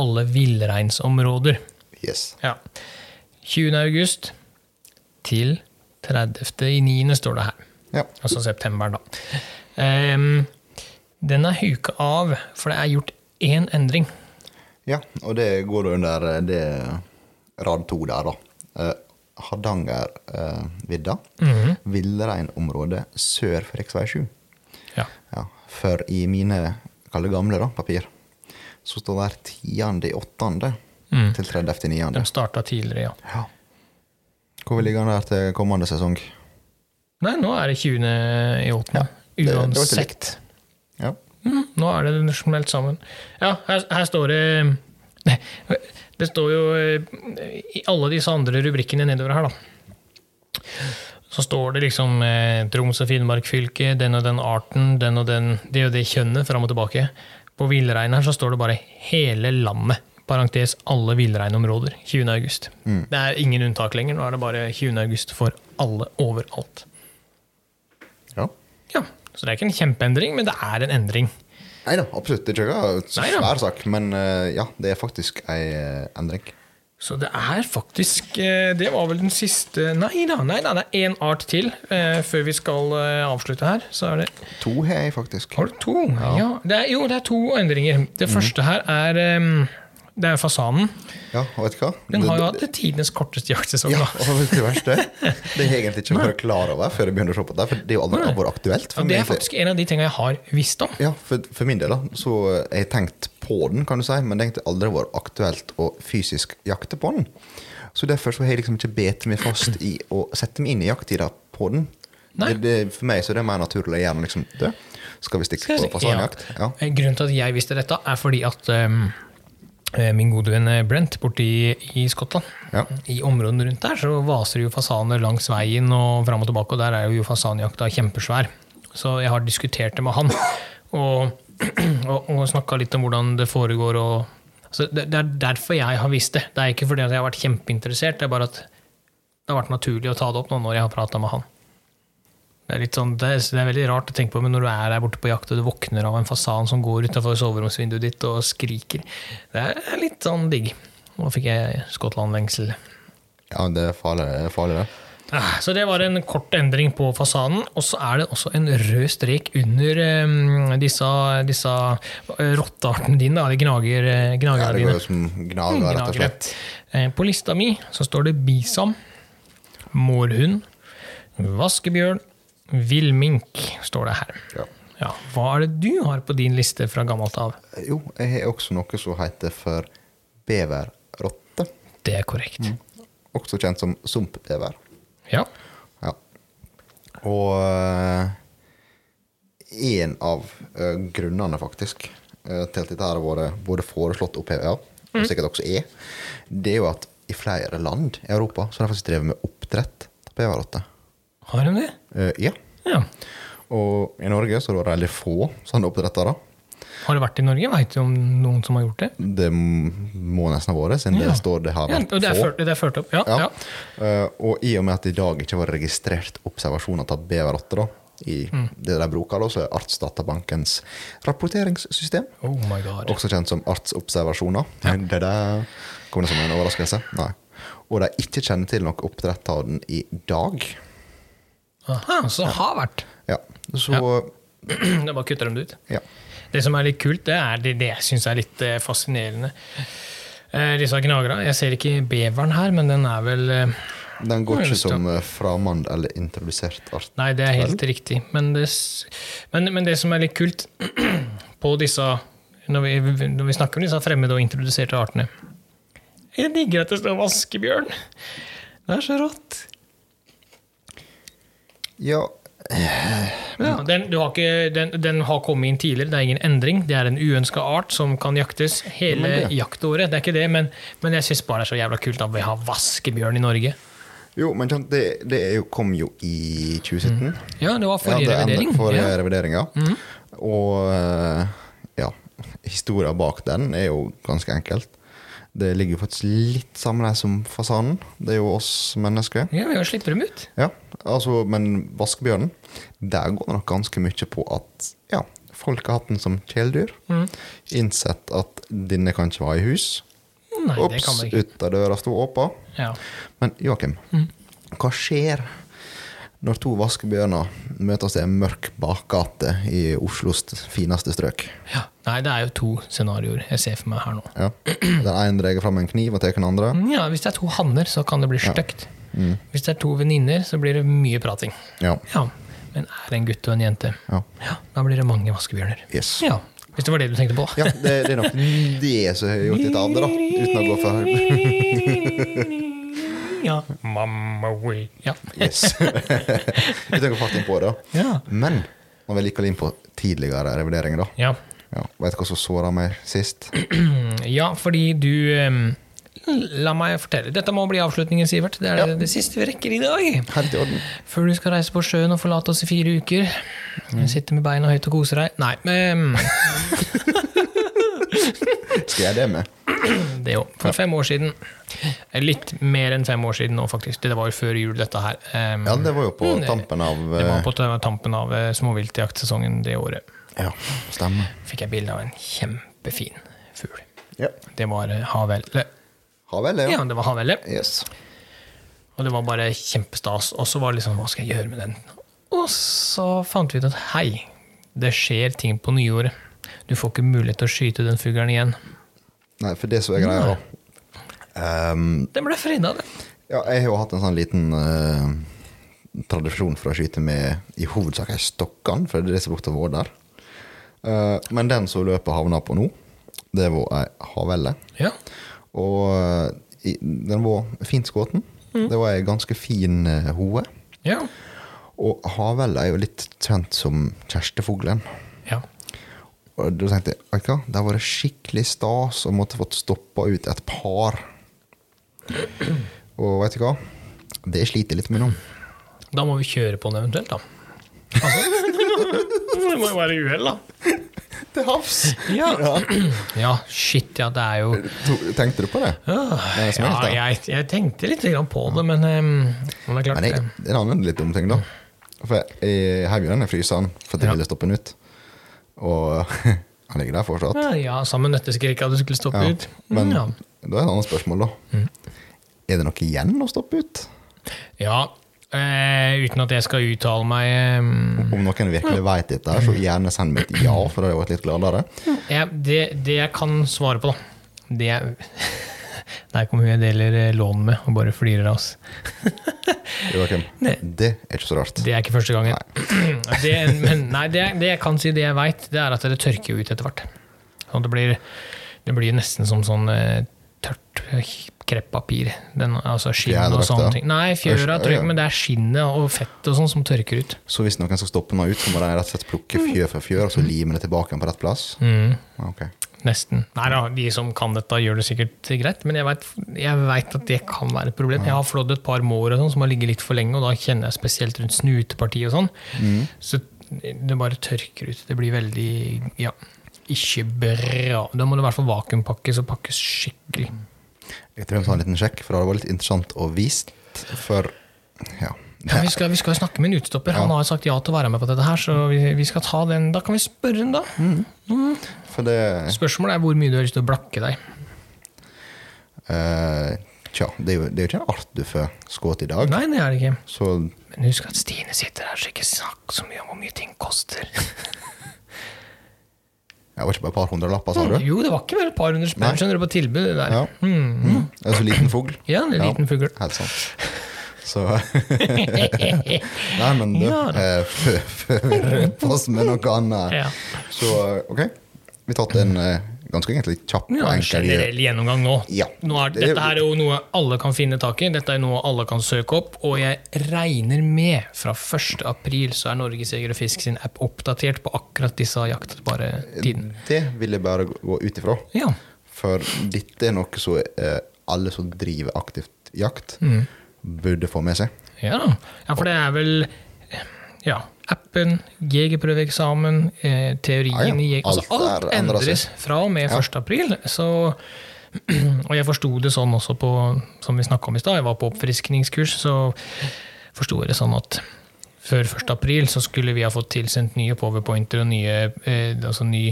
S2: alle villreinsområder.
S1: Yes.
S2: Ja. 20. august til 30. i 9. står det her.
S1: Ja.
S2: Altså september, da. Ehm, den er huka av, for det er gjort én endring.
S1: ja, og det går da under eh, det rad to der, da. Eh, Hardangervidda. Uh,
S2: Mhm.
S1: Villreinområde sør for rv. 7.
S2: Ja.
S1: Ja, for i mine kall det gamle da, papir, så står det her 10. i 8.
S2: Mm.
S1: til 30. i 9.
S2: De starta tidligere, ja.
S1: Ja. Hvor ligger han der til kommende sesong?
S2: Nei, nå er det 20. i åttende.
S1: det- det var ikke
S2: Uansett.
S1: likt. Ja.
S2: Mm, nå er det smelt sammen. Ja, her, her står det Nei, Det står jo eh, i alle disse andre rubrikkene nedover her, da. Så står det liksom eh, Troms og Finnmark fylke, den og den arten, den og den, det og det kjønnet, fram og tilbake. På villreinen her så står det bare 'hele landet', parentes alle villreinområder, 20. august. Det er ingen unntak lenger, nå er det bare 20. august for alle overalt.
S1: ja.
S2: Ja, Så det er ikke en kjempeendring, men det er en endring.
S1: Nei da, absolutt. Det er ikke en
S2: Neida.
S1: svær sak, men eh, ja, det er faktisk ei eh, endring.
S2: Så det er faktisk eh, Det var vel den siste Nei da, nei da, det er én art til eh, før vi skal eh, avslutte her. Så er det
S1: To har jeg faktisk.
S2: Har du to? Ja. det er, jo, det er to endringer.
S1: Mhm.
S2: Det første her er eh, Det er fasanen.
S1: Ja, og vet du hva?
S2: Den har jo
S1: det,
S2: hatt tidenes korteste jaktsesong.
S1: ja,
S2: da.
S1: og vet du det verste? Det har jeg egentlig ikke vært klar over før jeg begynner å se på det, for det er jo aldri vært aktuelt.
S2: Ja,
S1: For,
S2: det
S1: meg,
S2: er
S1: egentlig.
S2: faktisk en av de tingene jeg har visst om.
S1: ja, for, for min del, da, så eh, jeg har tenkt på den, kan du si, men det har egentlig aldri vært aktuelt å fysisk jakte på den. Så derfor så har jeg liksom ikke bet meg fast i å sette meg inn i jakttida på den.
S2: Nei.
S1: Det, det, for meg så er det mer naturlig å gjøre den liksom død.
S2: Eh,
S1: Skal vi stikke på fasanjakt? Ja.
S2: Grunnen til at jeg visste dette, er fordi at um, eh, min gode venn eh, Brent borte i, i Skottland.
S1: Ja.
S2: I områdene rundt der så vaser det jo fasaner langs veien og fram og tilbake, og der er jo fasanjakta kjempesvær. Så jeg har diskutert det med han, og, og, og snakka litt om hvordan det foregår. Og, altså, det, det er derfor jeg har visst det. Det er ikke fordi at jeg har vært kjempeinteressert, det er bare at det har vært naturlig å ta det opp nå når jeg har prata med han. Det er, litt sånn, det, er, det er veldig rart å tenke på, men når du er der borte på jakt og du våkner av en fasan som går utafor soveromsvinduet ditt og skriker Det er litt sånn digg. Nå fikk jeg Skottland-lengsel.
S1: Ja, det er farlig, det er farlig det.
S2: Ah, Så det var en kort endring på fasanen. Og så er det også en rød strek under eh, disse, disse eh, rotteartene dine, da, de gnager, eh,
S1: Ja,
S2: gnagerne
S1: det går
S2: dine.
S1: jo som gnager, rett og
S2: Gnagere.
S1: slett.
S2: Eh, På lista mi så står det bisam, mårhund, vaskebjørn, villmink, står det her.
S1: Ja.
S2: Ja, Hva er det du har på din liste fra gammelt av?
S1: Eh, Jo, jeg har også noe som heter for beverrotte.
S2: Det er korrekt.
S1: Mm. Også kjent som sumpbever.
S2: Ja.
S1: Ja. Og én av eh, grunnene, faktisk, eh, til at dette her har vært både foreslått oppheva,
S2: Mm.
S1: og sikkert også er, det er jo at i flere land i Europa så har de faktisk drevet med oppdrett av beverrotter.
S2: Har hun det?
S1: Eh, ja.
S2: Ja.
S1: Og i Norge så er det vært veldig få sånne oppdrettere.
S2: Har det vært i Norge? Veit du om noen som har gjort det?
S1: Det må nesten ha vært, siden
S2: Ja.
S1: det står det har
S2: Ja,
S1: vært
S2: og det er
S1: få.
S2: ført, det er ført opp. Ja,
S1: Ja.
S2: ja.
S1: Eh, og i og med at det i dag ikke var registrert observasjoner av beverrotter da, i det de bruker, da, så er Artsdatabankens rapporteringssystem,
S2: Oh my god.
S1: også kjent som artsobservasjoner Det der kom det som en overraskelse. Nei. Og de ikke kjenner til noe oppdrett av den i dag.
S2: Aha, så har vært.
S1: Ja. Så
S2: Det bare kutter dem det ut.
S1: ja.
S2: Det som er litt kult, det er det, det jeg syns er litt eh, fascinerende. Eh, disse gnagerne. Jeg ser ikke beveren her, men den er vel eh,
S1: Den går
S2: Ja,
S1: ikke som eh, framand eller introdusert art.
S2: Nei, det er helt riktig. Men det, s- men, men det som er litt kult på disse når vi, når vi snakker om disse fremmede og introduserte artene Jeg digger at det står vaskebjørn! Det er så rått.
S1: Ja,
S2: Ja, Mm. den, du har ikke, den, den har kommet inn tidligere, det er ingen endring. Det er en uønska art som kan jaktes
S1: Ja,
S2: hele
S1: men det-
S2: jaktåret. Det er ikke det, men, men jeg syns bare det er så jævla kult at vi har vaskebjørn i Norge.
S1: jo, men sant, det, det er jo, kom jo i 2017.
S2: Ja, det var forrige
S1: det er
S2: revidering.
S1: endret Forrige
S2: Ja. Mhm.
S1: revidering, ja. Og eh, ja, historia bak den er jo ganske enkelt. Det ligger jo faktisk litt sammenheng som fasanen. Det er jo oss mennesker.
S2: ja, vi har sluppet dem ut.
S1: Ja, altså, Men vaskebjørnen, der går det nok ganske mye på at ja, folk har hatt den som kjæledyr.
S2: Mhm.
S1: Innsett at denne kan ikke være i hus.
S2: Nei, det kan
S1: Ops,
S2: vi ikke.
S1: ut av døra sto åpen.
S2: Ja.
S1: Men Joakim,
S2: Mm.
S1: hva skjer når to vaskebjørner møtes i en mørk bakgate i Oslos fineste strøk?
S2: Ja. Nei, det er jo to scenarioer jeg ser for meg her nå. Mm,
S1: Ja. Den ene drar fram en kniv og tar den andre.
S2: Ja, Hvis det er to hanner, så kan det bli stygt.
S1: Mm.
S2: Hvis det er to venninner, så blir det mye prating.
S1: Ja.
S2: Ja, Men er det en gutt og en jente,
S1: Ja.
S2: ja, da blir det mange vaskebjørner.
S1: Yes.
S2: Ja, Hvis det var det du tenkte på.
S1: Ja, det, det er nok det som har gjort litt av det, da. Uten å gå for
S2: ja. Mamma way. Ja.
S1: Yes. Uten å gå fart innpå det. da.
S2: Ja.
S1: Men når vi likevel inn på tidligere revideringer, da.
S2: Ja.
S1: Ja, Veit du hva som såra meg sist?
S2: ja, fordi du em, La meg fortelle. Dette må bli avslutningen, Sivert. Det er det, det siste vi rekker i dag.
S1: Helt i orden.
S2: Før du skal reise på sjøen og forlate oss i fire uker. Sitte med beina høyt og kose deg. Nei, men
S1: Skal jeg det med?
S2: det jo. For fem år siden. Eh, Litt mer enn fem år siden nå, faktisk. Det var jo før jul, dette her. Em,
S1: Ja, det var jo på
S2: Mm, det-
S1: tampen av
S2: Det var
S1: eh,
S2: på tampen av eh, småviltjaktsesongen det året.
S1: Ja, stemmer.
S2: Fikk jeg bilde av en kjempefin fugl.
S1: Ja.
S2: Det var eh, havelle.
S1: Ha vel det.
S2: Ja,
S1: Ja.
S2: det var havelle.
S1: Yes.
S2: Og det var bare kjempestas. Og så var det liksom Hva skal jeg gjøre med den? Og så fant vi ut at hei, det skjer ting på nyåret. Du får ikke mulighet til å skyte den fuglen igjen.
S1: Nei, for det som er greia, da Ehm,
S2: Den ble freda, den.
S1: Ja, jeg har jo hatt en sånn liten eh, tradisjon for å skyte med i hovedsak ei stokkan, for det er det som brukte å være der. Eh, men den som løpet havna på nå, det var ei havelle.
S2: Ja.
S1: Og eh, i, den var fint skutt. Det var ei ganske fin eh, hoe.
S2: Ja.
S1: Og havelle er jo litt kjent som kjærestefuglen.
S2: ja.
S1: Og da tenkte jeg vet du hva, det var skikkelig stas å måtte fått stoppa ut et par. Og vet du hva? Det sliter jeg litt med nå.
S2: Da må vi kjøre på den eventuelt, da. Altså, det må jo være uhell, da.
S1: Til havs!
S2: Ja. ja, shit, ja, det er jo
S1: To- Tenkte du på det? Det er som
S2: ja,
S1: helst, det.
S2: jeg, jeg tenkte litt grann på det, men, eh, men det er klart
S1: Men jeg,
S2: det.
S1: en annen litt dum ting, da. For jeg, jeg heiv jo denne fryseren for at jeg
S2: Ja.
S1: ville stoppe den ut. Og han ligger der fortsatt.
S2: Eh, Ja, sammen nøtteskrika du skulle stoppe
S1: Ja.
S2: ut. Mm,
S1: Men da
S2: ja. Mm.
S1: er det et annet spørsmål, da. Er det noe igjen å stoppe ut?
S2: ja. Eh, uten at jeg skal uttale meg eh,
S1: Om noen virkelig veit dette, her, så gjerne send meg et ja, for da hadde jeg vært litt gladere.
S2: jeg, eh, det, det jeg kan svare på, da Det er Der kommer hun jeg deler eh, lån med, og bare flirer av oss.
S1: Joakim, det er ikke så rart.
S2: Det er ikke første gangen. Det, men nei, det, det jeg kan si, det jeg veit, det er at det tørker jo ut etter hvert. Og det blir, det blir nesten som sånn eh, tørt eh, kreppapir. Den, altså skinn
S1: Fjærdrakt,
S2: og
S1: ja.
S2: sånne ting. Nei, fjøra
S1: Øst- ja.
S2: tørker, men det er skinnet og fettet og sånn som tørker ut.
S1: Så hvis noen skal stoppe meg ut, så må de rett og slett plukke fjør for fjør, og så lime det tilbake igjen på rett plass? Ok.
S2: Nesten. Nei da, de som kan dette, gjør det sikkert greit, men jeg vet, jeg vet at det kan være et problem. Jeg har flådd et par mår og sånn som har ligget litt for lenge, og da kjenner jeg spesielt rundt snutepartiet og sånn. Så det bare tørker ut. Det blir veldig Ja, ikke bra. Da må det i hvert fall vakuumpakkes og pakkes skikkelig.
S1: Jeg tror jeg må ta en liten sjekk, for det hadde vært litt interessant å vise. For ja.
S2: Ja, vi, skal, vi skal snakke med en utstopper. Han har sagt ja til å være med på dette her, så vi, vi skal ta den. Da kan vi spørre den, da.
S1: For det
S2: Spørsmålet er hvor mye du har lyst til å blakke deg.
S1: eh, Tja, det er, jo, det er jo ikke en art du får skutt i dag.
S2: Nei, det er det ikke.
S1: Så
S2: Men husk at Stine sitter her, så ikke snakk så mye om hvor mye ting koster.
S1: jeg var ikke bare et par hundrelapper, sa du?
S2: Sånn. Jo, det var ikke bare et par hundre
S1: Nei.
S2: spenn, skjønner du, på tilbud der.
S1: Ja.
S2: Ja,
S1: Mm. En så liten fugl.
S2: en liten fugl.
S1: Helt sant. Så Nei, men du,
S2: Ja da.
S1: eh, før før vi røper oss med noe annet
S2: Ja.
S1: Så eh, ok, vi har tatt en eh, ganske egentlig kjapp og
S2: Ja, en
S1: enkel
S2: generell gjennomgang nå.
S1: Ja.
S2: nå er,
S1: Det er-
S2: dette her er jo noe alle kan finne tak i, dette er noe alle kan søke opp, og jeg regner med fra 1. april så er Norges Jeger og Fisk sin app oppdatert på akkurat disse jaktbare tidene.
S1: Det vil jeg bare gå ut ifra.
S2: Ja.
S1: For dette er noe som eh, alle som driver aktivt jakt,
S2: Mm.
S1: burde få med seg.
S2: Ja, da. ja, for det er vel eh, ja, appen, jegerprøveeksamen, eh, teorien
S1: Ja, ja.
S2: i jeger... Altså,
S1: Alt
S2: alt
S1: er endret
S2: endres
S1: seg.
S2: fra og med 1. april. Så, og jeg forsto det sånn også på, som vi snakka om i stad, jeg var på oppfriskningskurs, så forsto jeg det sånn at før 1. april så skulle vi ha fått tilsendt nye powerpointer og nye, eh, altså ny,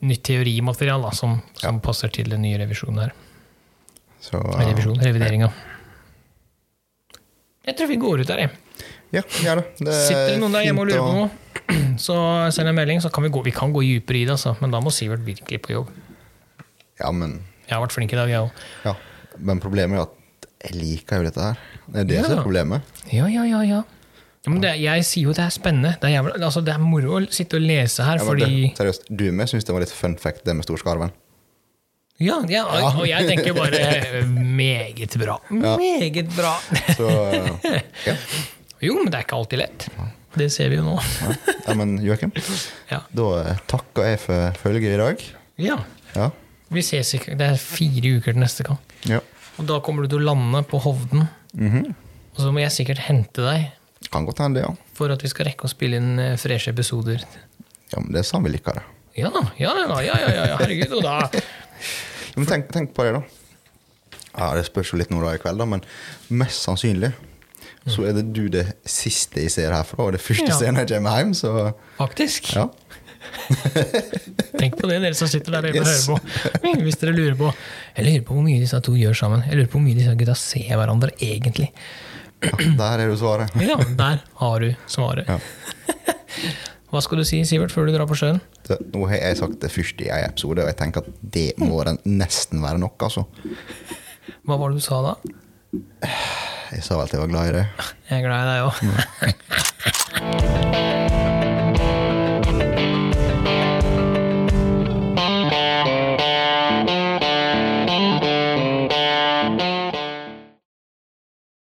S2: nytt teorimateriale da, som, som passer til den nye revisjonen her.
S1: Så, eh,
S2: Revisjon, revideringa. Jeg tror vi går ut der, jeg.
S1: Ja, gjør det. det er
S2: Sitter det noen der hjemme og
S1: Eh, fint
S2: lurer på
S1: å-
S2: noe, så send en melding. Så kan vi, gå, vi kan gå dypere i det, altså. men da må Sivert virkelig på jobb.
S1: Ja, men,
S2: Jeg har vært flink i dag, jeg òg.
S1: ja. men problemet er jo at jeg liker jo dette her. Det er det som
S2: Ja.
S1: er problemet.
S2: Ja, ja, ja, ja. Ja, men det, jeg sier jo det er spennende. Det er, jævla, altså, det er moro å sitte og lese her,
S1: Ja, men
S2: fordi
S1: det, seriøst, du med syns det var litt fun fact, det med storskarven.
S2: ja, ja, og jeg tenker bare meget bra. Meget bra!
S1: Så eh, ja.
S2: Jo, men det er ikke alltid lett. Det ser vi jo nå.
S1: ja, men Joakim,
S2: Ja.
S1: da eh, takker jeg for følget i dag.
S2: ja.
S1: Ja.
S2: Vi ses ikke Det er fire uker til neste gang.
S1: ja.
S2: Og da kommer du til å lande på Hovden. Og så må jeg sikkert hente deg
S1: Kan godt hende, ja.
S2: for at vi skal rekke å spille inn eh, freshe episoder.
S1: ja. Men det er sånn vi liker det.
S2: Ja da, ja da, ja, ja, ja, ja, herregud. Og da
S1: Men tenk, tenk på det, da. Ja, Det spørs jo litt nå da i kveld, da, men mest sannsynlig så er det du det siste jeg ser herfra, og det første
S2: Ja.
S1: scenen jeg kommer hjem, så
S2: Faktisk.
S1: ja.
S2: Tenk på det, dere som sitter der og
S1: Yes.
S2: hører på. Mm, Hvis dere lurer på Jeg lurer på hvor mye disse to gjør sammen. Jeg lurer på hvor mye disse gutta ser hverandre egentlig.
S1: ja. Der er jo svaret.
S2: Ja, der har du svaret.
S1: Ja.
S2: Hva skal du si, Sivert, før du drar på sjøen?
S1: Så, nå har jeg sagt det første i en episode, og jeg tenker at det må den nesten være nok, altså.
S2: Hva var det du sa da?
S1: Jeg sa vel at jeg var glad i det.
S2: Jeg er glad i deg òg.